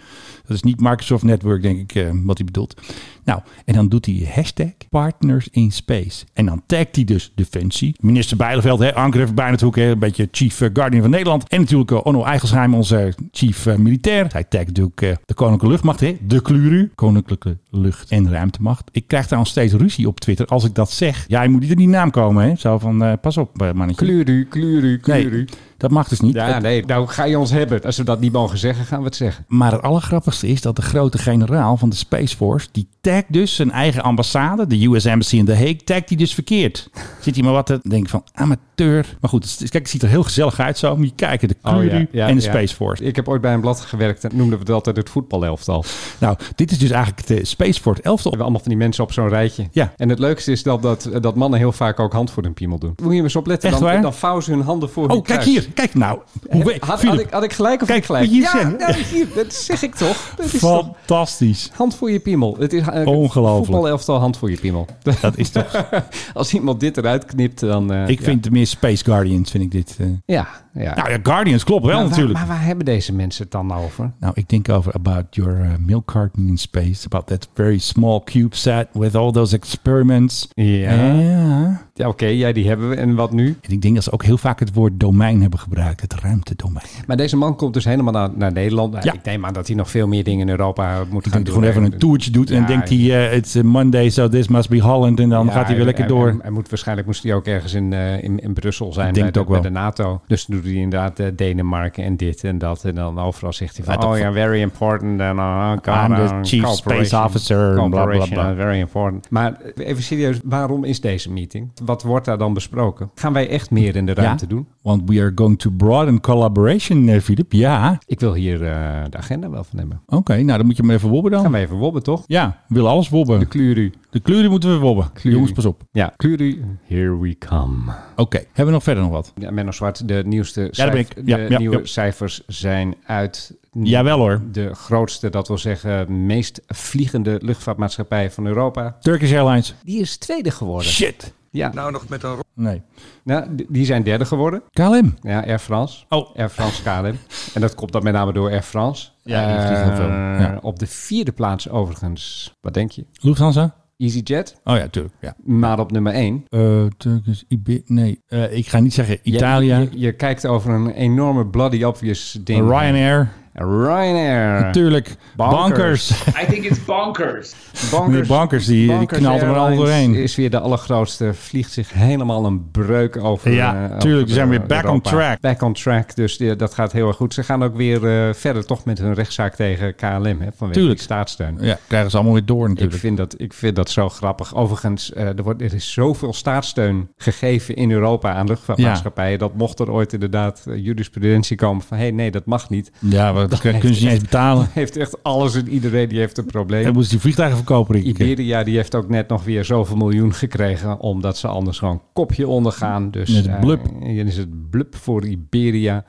[SPEAKER 2] Dat is niet Microsoft Network, denk ik, eh, wat hij bedoelt. Nou, en dan doet hij hashtag partners in space. En dan tagt hij dus Defensie, minister Bijleveld, hè, Anker even bij natuurlijk, hè, een beetje chief eh, guardian van Nederland. En natuurlijk eh, Onno Eigelsheim, onze chief eh, militair. Hij tagt natuurlijk eh, de Koninklijke Luchtmacht, hè, de Kluru, Koninklijke Lucht- en Ruimtemacht. Ik krijg daar al steeds ruzie op Twitter als ik dat zeg. Ja, je moet niet in die naam komen, hè. Zo van, eh, pas op, eh, mannetje.
[SPEAKER 3] Kluru, kluru, kluru.
[SPEAKER 2] Nee, dat mag dus niet.
[SPEAKER 3] Ja,
[SPEAKER 2] Het-
[SPEAKER 3] nee, nou ga je ons hebben. Als we dat niet mogen zeggen, gaan we het zeggen.
[SPEAKER 2] maar het allergrappigste is dat de grote generaal van de Space Force... die tagt dus zijn eigen ambassade, de US Embassy in The Hague... tagt hij dus verkeerd. Zit hij maar wat te denken van amateur. Maar goed, het, is- kijk, het ziet er heel gezellig uit zo. Moet je kijken,
[SPEAKER 3] Oh
[SPEAKER 2] de Crew en de Space Force.
[SPEAKER 3] Ik heb ooit bij een blad gewerkt en noemden we het altijd het voetbalelftal.
[SPEAKER 2] Nou, dit is dus eigenlijk de Space Force elftal.
[SPEAKER 3] We hebben allemaal van die mensen op zo'n rijtje.
[SPEAKER 2] Ja.
[SPEAKER 3] En het leukste is dat, dat, dat mannen heel vaak ook hand voor hun piemel doen. Moet je eens opletten.
[SPEAKER 2] Echt
[SPEAKER 3] dan,
[SPEAKER 2] waar?
[SPEAKER 3] dan vouwen ze hun handen voor hun
[SPEAKER 2] Oh, kijk
[SPEAKER 3] kruis.
[SPEAKER 2] hier. Kijk nou. Hoe we-
[SPEAKER 3] Had, had,
[SPEAKER 2] Philip,
[SPEAKER 3] ik, had ik gelijk of niet gelijk?
[SPEAKER 2] wat je
[SPEAKER 3] ja,
[SPEAKER 2] zegt.
[SPEAKER 3] nee, hier, dat zeg ik toch. Dat is toch
[SPEAKER 2] fantastisch.
[SPEAKER 3] hand voor je piemel. Het is eigenlijk een
[SPEAKER 2] Ongelooflijk.
[SPEAKER 3] voetbalelftal hand voor je piemel.
[SPEAKER 2] Dat is toch...
[SPEAKER 3] Als iemand dit eruit knipt, dan... eh,
[SPEAKER 2] Ik
[SPEAKER 3] ja.
[SPEAKER 2] vind het meer Space Guardians, vind ik dit. eh.
[SPEAKER 3] Ja, ja.
[SPEAKER 2] Nou ja, Guardians klopt wel
[SPEAKER 3] Maar waar-
[SPEAKER 2] natuurlijk.
[SPEAKER 3] maar waar hebben deze mensen het dan over?
[SPEAKER 2] Nou, ik denk over about your uh, milk carton in space. About that very small CubeSat with all those experiments.
[SPEAKER 3] Ja. Ja, oké, jij die hebben we. En wat nu?
[SPEAKER 2] En ik denk dat ze ook heel vaak het woord domein hebben gebruikt. Het ruimtedomein.
[SPEAKER 3] Maar deze man komt dus helemaal naar, naar Nederland. Nou,
[SPEAKER 2] Ja.
[SPEAKER 3] Ik neem aan dat hij nog veel meer dingen in Europa moet
[SPEAKER 2] Ik
[SPEAKER 3] gaan
[SPEAKER 2] denk dat
[SPEAKER 3] doen.
[SPEAKER 2] hij gewoon even
[SPEAKER 3] En-
[SPEAKER 2] een toertje doet. En
[SPEAKER 3] Ja,
[SPEAKER 2] denkt hij, eh, it's a Monday, so this must be Holland. En dan
[SPEAKER 3] ja,
[SPEAKER 2] gaat hij weer lekker
[SPEAKER 3] en- en-
[SPEAKER 2] door.
[SPEAKER 3] en- en moet, waarschijnlijk moest hij ook ergens in, eh, in, in Brussel zijn
[SPEAKER 2] Ik
[SPEAKER 3] bij,
[SPEAKER 2] denk
[SPEAKER 3] de,
[SPEAKER 2] het ook
[SPEAKER 3] bij de NATO. Dus dan doet hij inderdaad eh, Denemarken en dit en dat. En dan overal zegt hij van, oh ja, very important. En uh,
[SPEAKER 2] I'm the chief space officer, bla, bla, bla.
[SPEAKER 3] eh, Very important. Maar eh, even serieus, waarom is deze meeting? Wat wordt daar dan besproken? Gaan wij echt meer in de ruimte
[SPEAKER 2] Ja,
[SPEAKER 3] doen?
[SPEAKER 2] Want we are going to broaden collaboration, eh, Philip. Ja.
[SPEAKER 3] Ik wil hier eh, de agenda wel van hebben.
[SPEAKER 2] Oké, nou dan moet je maar even wobben dan.
[SPEAKER 3] Gaan we even wobben, toch?
[SPEAKER 2] Ja, we willen alles wobben.
[SPEAKER 3] De kluru.
[SPEAKER 2] De kleuren moeten we wobben. Jongens, pas op.
[SPEAKER 3] Ja, kluru, here we come.
[SPEAKER 2] Oké, hebben we nog verder nog wat?
[SPEAKER 3] Ja, Menno Zwart, de nieuwste
[SPEAKER 2] daar ben
[SPEAKER 3] cijf-
[SPEAKER 2] ik. Ja,
[SPEAKER 3] de
[SPEAKER 2] ja,
[SPEAKER 3] nieuwe
[SPEAKER 2] ja.
[SPEAKER 3] cijfers zijn uit.
[SPEAKER 2] Jawel hoor.
[SPEAKER 3] De grootste, dat wil zeggen, meest vliegende luchtvaartmaatschappij van Europa.
[SPEAKER 2] Turkish Airlines.
[SPEAKER 3] Die is tweede geworden.
[SPEAKER 2] Shit.
[SPEAKER 3] Ja,
[SPEAKER 1] Nou nog met een
[SPEAKER 2] Nee.
[SPEAKER 3] nou, d- die zijn derde geworden.
[SPEAKER 2] KLM.
[SPEAKER 3] Ja, Air France.
[SPEAKER 2] Oh.
[SPEAKER 3] Air France KLM. En dat komt dan met name door Air France.
[SPEAKER 2] Ja, die vliegen heel veel.
[SPEAKER 3] Eh,
[SPEAKER 2] Ja.
[SPEAKER 3] Op de vierde plaats overigens, wat denk je?
[SPEAKER 2] Lufthansa?
[SPEAKER 3] EasyJet,
[SPEAKER 2] Oh ja, tuurlijk. Ja.
[SPEAKER 3] maar op nummer één.
[SPEAKER 2] Eh, Turkish, Ibi- nee. Eh, ik ga niet zeggen
[SPEAKER 3] Je-
[SPEAKER 2] Italië,
[SPEAKER 3] Je, je kijkt over een enorme bloody obvious ding.
[SPEAKER 2] Ryanair,
[SPEAKER 3] Ryanair.
[SPEAKER 2] natuurlijk. Bankers.
[SPEAKER 7] I think it's bonkers.
[SPEAKER 2] Meneer Bankers, die- die knalt er maar al
[SPEAKER 3] Airlines
[SPEAKER 2] doorheen.
[SPEAKER 3] is weer de allergrootste. Vliegt zich helemaal een breuk over.
[SPEAKER 2] Ja,
[SPEAKER 3] eh, over
[SPEAKER 2] tuurlijk, we zijn weer
[SPEAKER 3] eh,
[SPEAKER 2] back on
[SPEAKER 3] Europa.
[SPEAKER 2] track.
[SPEAKER 3] Back on track, dus die- dat gaat heel erg goed. Ze gaan ook weer eh, verder toch met hun rechtszaak tegen KLM. Hè, vanwege
[SPEAKER 2] Tuurlijk.
[SPEAKER 3] die staatssteun.
[SPEAKER 2] Ja, krijgen ze allemaal weer door
[SPEAKER 3] Ik
[SPEAKER 2] natuurlijk.
[SPEAKER 3] vind, dat, ik vind dat zo grappig. Overigens, eh, er, wordt, er is zoveel staatssteun gegeven in Europa aan luchtvaartmaatschappijen. Dat mocht er ooit inderdaad eh, jurisprudentie komen van... hé, hey, nee, dat mag niet.
[SPEAKER 2] Ja, maar dat kun- kunnen ze niet eens betalen.
[SPEAKER 3] Heeft echt alles en iedereen die heeft een probleem.
[SPEAKER 2] Dan moeten ze die vliegtuigen verkopen. Rick.
[SPEAKER 3] Iberia die heeft ook net nog weer zoveel miljoen gekregen, omdat ze anders gewoon kopje ondergaan. Dus
[SPEAKER 2] Net
[SPEAKER 3] eh,
[SPEAKER 2] blub.
[SPEAKER 3] hier is het blub voor Iberia.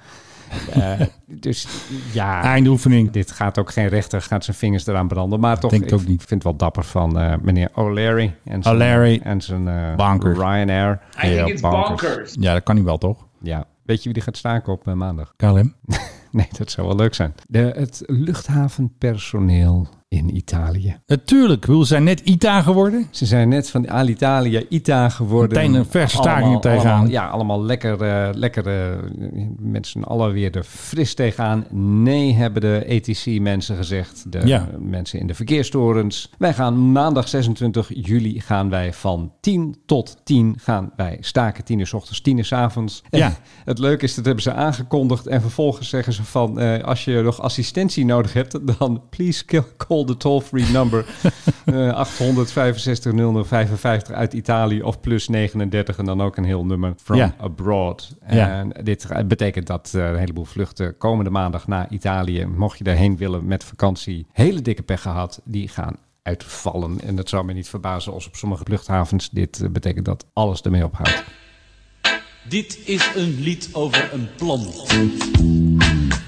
[SPEAKER 3] Eh, dus ja,
[SPEAKER 2] Eindoefening.
[SPEAKER 3] dit gaat ook geen rechter, gaat zijn vingers eraan branden. Maar toch,
[SPEAKER 2] Denk het ook
[SPEAKER 3] ik
[SPEAKER 2] niet.
[SPEAKER 3] vind het wel dapper van eh, meneer O'Leary en zijn,
[SPEAKER 2] O'Leary.
[SPEAKER 3] en zijn eh,
[SPEAKER 2] Bankers.
[SPEAKER 3] Ryanair.
[SPEAKER 7] I think
[SPEAKER 3] Ja,
[SPEAKER 7] it's
[SPEAKER 3] bankers.
[SPEAKER 7] bonkers.
[SPEAKER 2] Ja, dat kan niet wel, toch?
[SPEAKER 3] Ja. Weet je wie die gaat staken op eh, maandag?
[SPEAKER 2] KLM.
[SPEAKER 3] Nee, dat zou wel leuk zijn. De, het luchthavenpersoneel in Italië.
[SPEAKER 2] Natuurlijk, Eh, we zijn net ITA geworden.
[SPEAKER 3] Ze zijn net van Alitalia ITA geworden.
[SPEAKER 2] Meteen een verse staking
[SPEAKER 3] Allemaal-
[SPEAKER 2] tegenaan.
[SPEAKER 3] allemaal- ja, allemaal lekker, eh, lekker eh, met z'n allen weer er fris tegenaan. Nee, hebben de E ETC-mensen gezegd. De
[SPEAKER 2] Ja.
[SPEAKER 3] eh, mensen in de verkeerstorens. Wij gaan maandag 26 juli gaan wij van 10 tot 10 gaan wij staken. 10 uur 's ochtends, 10 uur 's avonds. En
[SPEAKER 2] Ja.
[SPEAKER 3] Het leuke is, dat hebben ze aangekondigd. En vervolgens zeggen ze van, eh, als je nog assistentie nodig hebt, dan please call the toll-free number eh 865 0055 uit Italië of plus 39 en dan ook een heel nummer from
[SPEAKER 2] Ja.
[SPEAKER 3] abroad.
[SPEAKER 2] Ja.
[SPEAKER 3] En dit betekent dat eh, een heleboel vluchten komende maandag naar Italië, mocht je daarheen willen met vakantie, hele dikke pech gehad, die gaan uitvallen. En dat zou me niet verbazen als op sommige luchthavens dit eh, betekent dat alles ermee ophoudt.
[SPEAKER 15] Dit is een lied over een plan.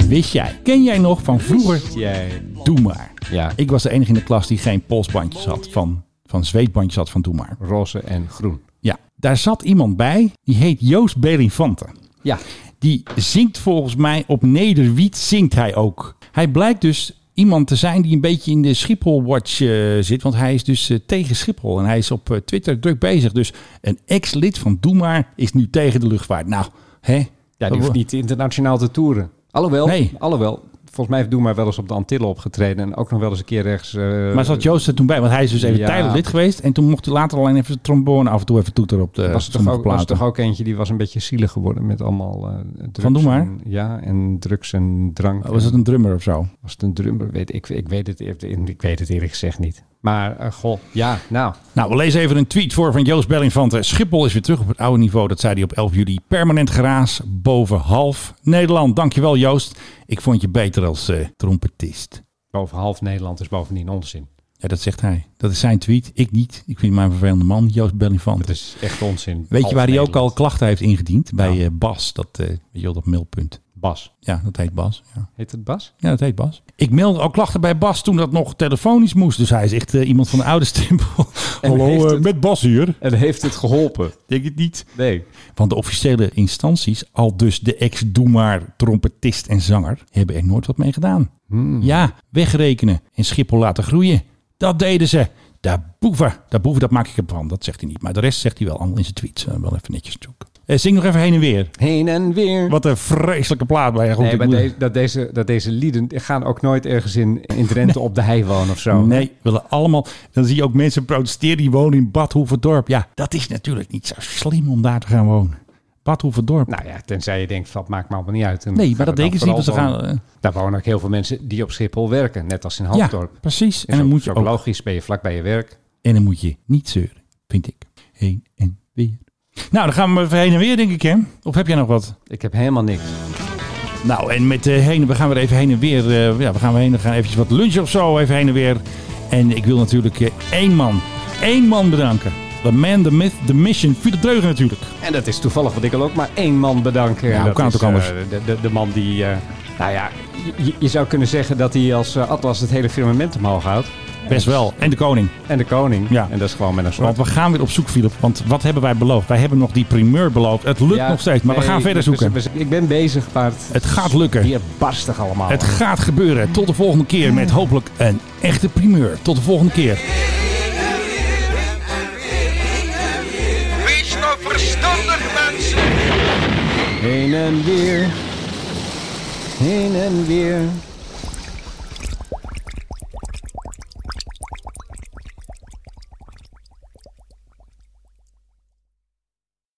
[SPEAKER 2] Wist jij? Ken jij nog van vroeger?
[SPEAKER 3] Jij.
[SPEAKER 2] Doe maar.
[SPEAKER 3] Ja.
[SPEAKER 2] Ik was de enige in de klas die geen polsbandjes had. Van, van zweetbandjes had van Doe maar.
[SPEAKER 3] Roze en groen.
[SPEAKER 2] Ja, daar zat iemand bij. Die heet Joost Belifante.
[SPEAKER 3] Ja,
[SPEAKER 2] Die zingt volgens mij op Nederwiet zingt hij ook. Hij blijkt dus iemand te zijn die een beetje in de Schiphol-watch eh, zit. Want hij is dus eh, tegen Schiphol en hij is op eh, Twitter druk bezig. Dus een ex-lid van Doe Maar is nu tegen de luchtvaart. Nou, hè?
[SPEAKER 3] Ja,
[SPEAKER 2] Oh.
[SPEAKER 3] die hoeft niet internationaal te toeren. Alhoewel, alhoewel volgens mij heeft Doe maar wel eens op de Antillen opgetreden. En ook nog wel eens een keer rechts... eh,
[SPEAKER 2] Maar zat Joost er toen bij? Want hij is dus even
[SPEAKER 3] Ja.
[SPEAKER 2] tijdelijk lid geweest. En toen mocht hij later alleen even de trombone af en toe even toeteren op de
[SPEAKER 3] was er toch
[SPEAKER 2] sommige
[SPEAKER 3] ook, was er
[SPEAKER 2] platen.
[SPEAKER 3] toch ook eentje die was een beetje zielig geworden met allemaal eh, drugs.
[SPEAKER 2] Van Doe Maar?
[SPEAKER 3] en- ja, en drugs en drank.
[SPEAKER 2] Oh, was het een drummer of zo?
[SPEAKER 3] Was het een drummer? Weet, ik, ik, weet het, eer- ik weet het eerlijk gezegd niet. Maar eh, goh, ja, nou.
[SPEAKER 2] Nou, we lezen even een tweet voor van Joost Bellingfante. Schiphol is weer terug op het oude niveau. Dat zei hij op 11 juli. Permanent geraas boven half Nederland. Dankjewel Joost. Ik vond je beter als eh, trompetist.
[SPEAKER 3] Boven half Nederland is bovendien onzin.
[SPEAKER 2] Ja, dat zegt hij. Dat is zijn tweet. Ik niet. Ik vind mijn vervelende man, Joost Bellingfante.
[SPEAKER 3] Dat is echt onzin.
[SPEAKER 2] Weet je
[SPEAKER 3] Half
[SPEAKER 2] waar hij ook
[SPEAKER 3] Nederland.
[SPEAKER 2] al klachten heeft ingediend? Bij eh, Bas, dat, eh, weet je wel, dat mailpunt.
[SPEAKER 3] Bas.
[SPEAKER 2] Ja, dat heet Bas. Ja.
[SPEAKER 3] Heet het Bas?
[SPEAKER 2] Ja, dat heet Bas. Ik mailde al klachten bij Bas toen dat nog telefonisch moest. Dus hij is echt eh, iemand van de oude stempel.
[SPEAKER 3] En
[SPEAKER 2] Hallo,
[SPEAKER 3] heeft
[SPEAKER 2] eh,
[SPEAKER 3] het-
[SPEAKER 2] met Bas hier.
[SPEAKER 3] En heeft het geholpen?
[SPEAKER 2] Denk het niet.
[SPEAKER 3] Nee.
[SPEAKER 2] Want de officiële instanties, al dus de ex-doemaar, trompetist en zanger, hebben er nooit wat mee gedaan.
[SPEAKER 3] Hmm.
[SPEAKER 2] Ja, wegrekenen en Schiphol laten groeien. Dat deden ze. Daar boeven, daar boeven, dat maak ik ervan. Dat zegt hij niet. Maar de rest zegt hij wel allemaal in zijn tweets. Eh, wel even netjes zoeken. Eh, zing nog even heen en weer.
[SPEAKER 3] Heen en weer.
[SPEAKER 2] Wat een vreselijke plaat bij je.
[SPEAKER 3] Nee, maar
[SPEAKER 2] moeder.
[SPEAKER 3] de- dat, deze, dat deze lieden gaan ook nooit ergens in, in Drenthe op de hei wonen of zo.
[SPEAKER 2] Nee, we willen allemaal. Dan zie je ook mensen protesteren die wonen in Badhoevedorp. Ja, dat is natuurlijk niet zo slim om daar te gaan wonen. Badhoevedorp.
[SPEAKER 3] Nou ja, tenzij je denkt, dat maakt me allemaal niet uit. En
[SPEAKER 2] Nee,
[SPEAKER 3] ga
[SPEAKER 2] maar dat
[SPEAKER 3] er dan
[SPEAKER 2] denken ze niet, want ze
[SPEAKER 3] vooral
[SPEAKER 2] gaan, eh,
[SPEAKER 3] wonen. Daar wonen ook heel veel mensen die op Schiphol werken, net als in Hoofddorp.
[SPEAKER 2] Ja, precies.
[SPEAKER 3] En
[SPEAKER 2] En dan moet
[SPEAKER 3] is
[SPEAKER 2] je
[SPEAKER 3] ook
[SPEAKER 2] ook-
[SPEAKER 3] logisch, ben je vlak bij je werk.
[SPEAKER 2] En dan moet je niet zeuren, vind ik. Heen en weer. Nou, dan gaan we even heen en weer, denk ik, hè? Of heb jij nog wat?
[SPEAKER 3] Ik heb helemaal niks.
[SPEAKER 2] Nou, en met eh, heen, we gaan weer even heen en weer. eh, ja, we gaan weer heen, we gaan eventjes wat lunchen of zo, even heen en weer. En ik wil natuurlijk eh, één man, één man bedanken. The man, the myth, the mission, Pieter Dreugen natuurlijk.
[SPEAKER 3] En dat is toevallig, want ik wil ook maar één man bedanken.
[SPEAKER 2] Ja,
[SPEAKER 3] En
[SPEAKER 2] hoe
[SPEAKER 3] dat
[SPEAKER 2] kan het
[SPEAKER 3] is,
[SPEAKER 2] ook anders?
[SPEAKER 3] eh, de, de, de man die, eh, nou ja, je, je zou kunnen zeggen dat hij als eh, Atlas het hele firmament omhoog houdt.
[SPEAKER 2] Best wel. En de koning.
[SPEAKER 3] En de koning.
[SPEAKER 2] Ja.
[SPEAKER 3] En dat is gewoon met een soort.
[SPEAKER 2] Want we gaan weer op zoek, Philip. Want wat hebben wij beloofd? Wij hebben nog die primeur beloofd. Het lukt nog steeds, maar we gaan verder zoeken.
[SPEAKER 3] ik ben bezig, Paard.
[SPEAKER 2] Het gaat lukken.
[SPEAKER 3] Hier barstig allemaal.
[SPEAKER 2] Het gaat gebeuren. Tot de volgende keer met hopelijk een echte primeur. Tot de volgende keer.
[SPEAKER 1] Wees nou verstandig, mensen.
[SPEAKER 3] Heen en weer. Heen en weer.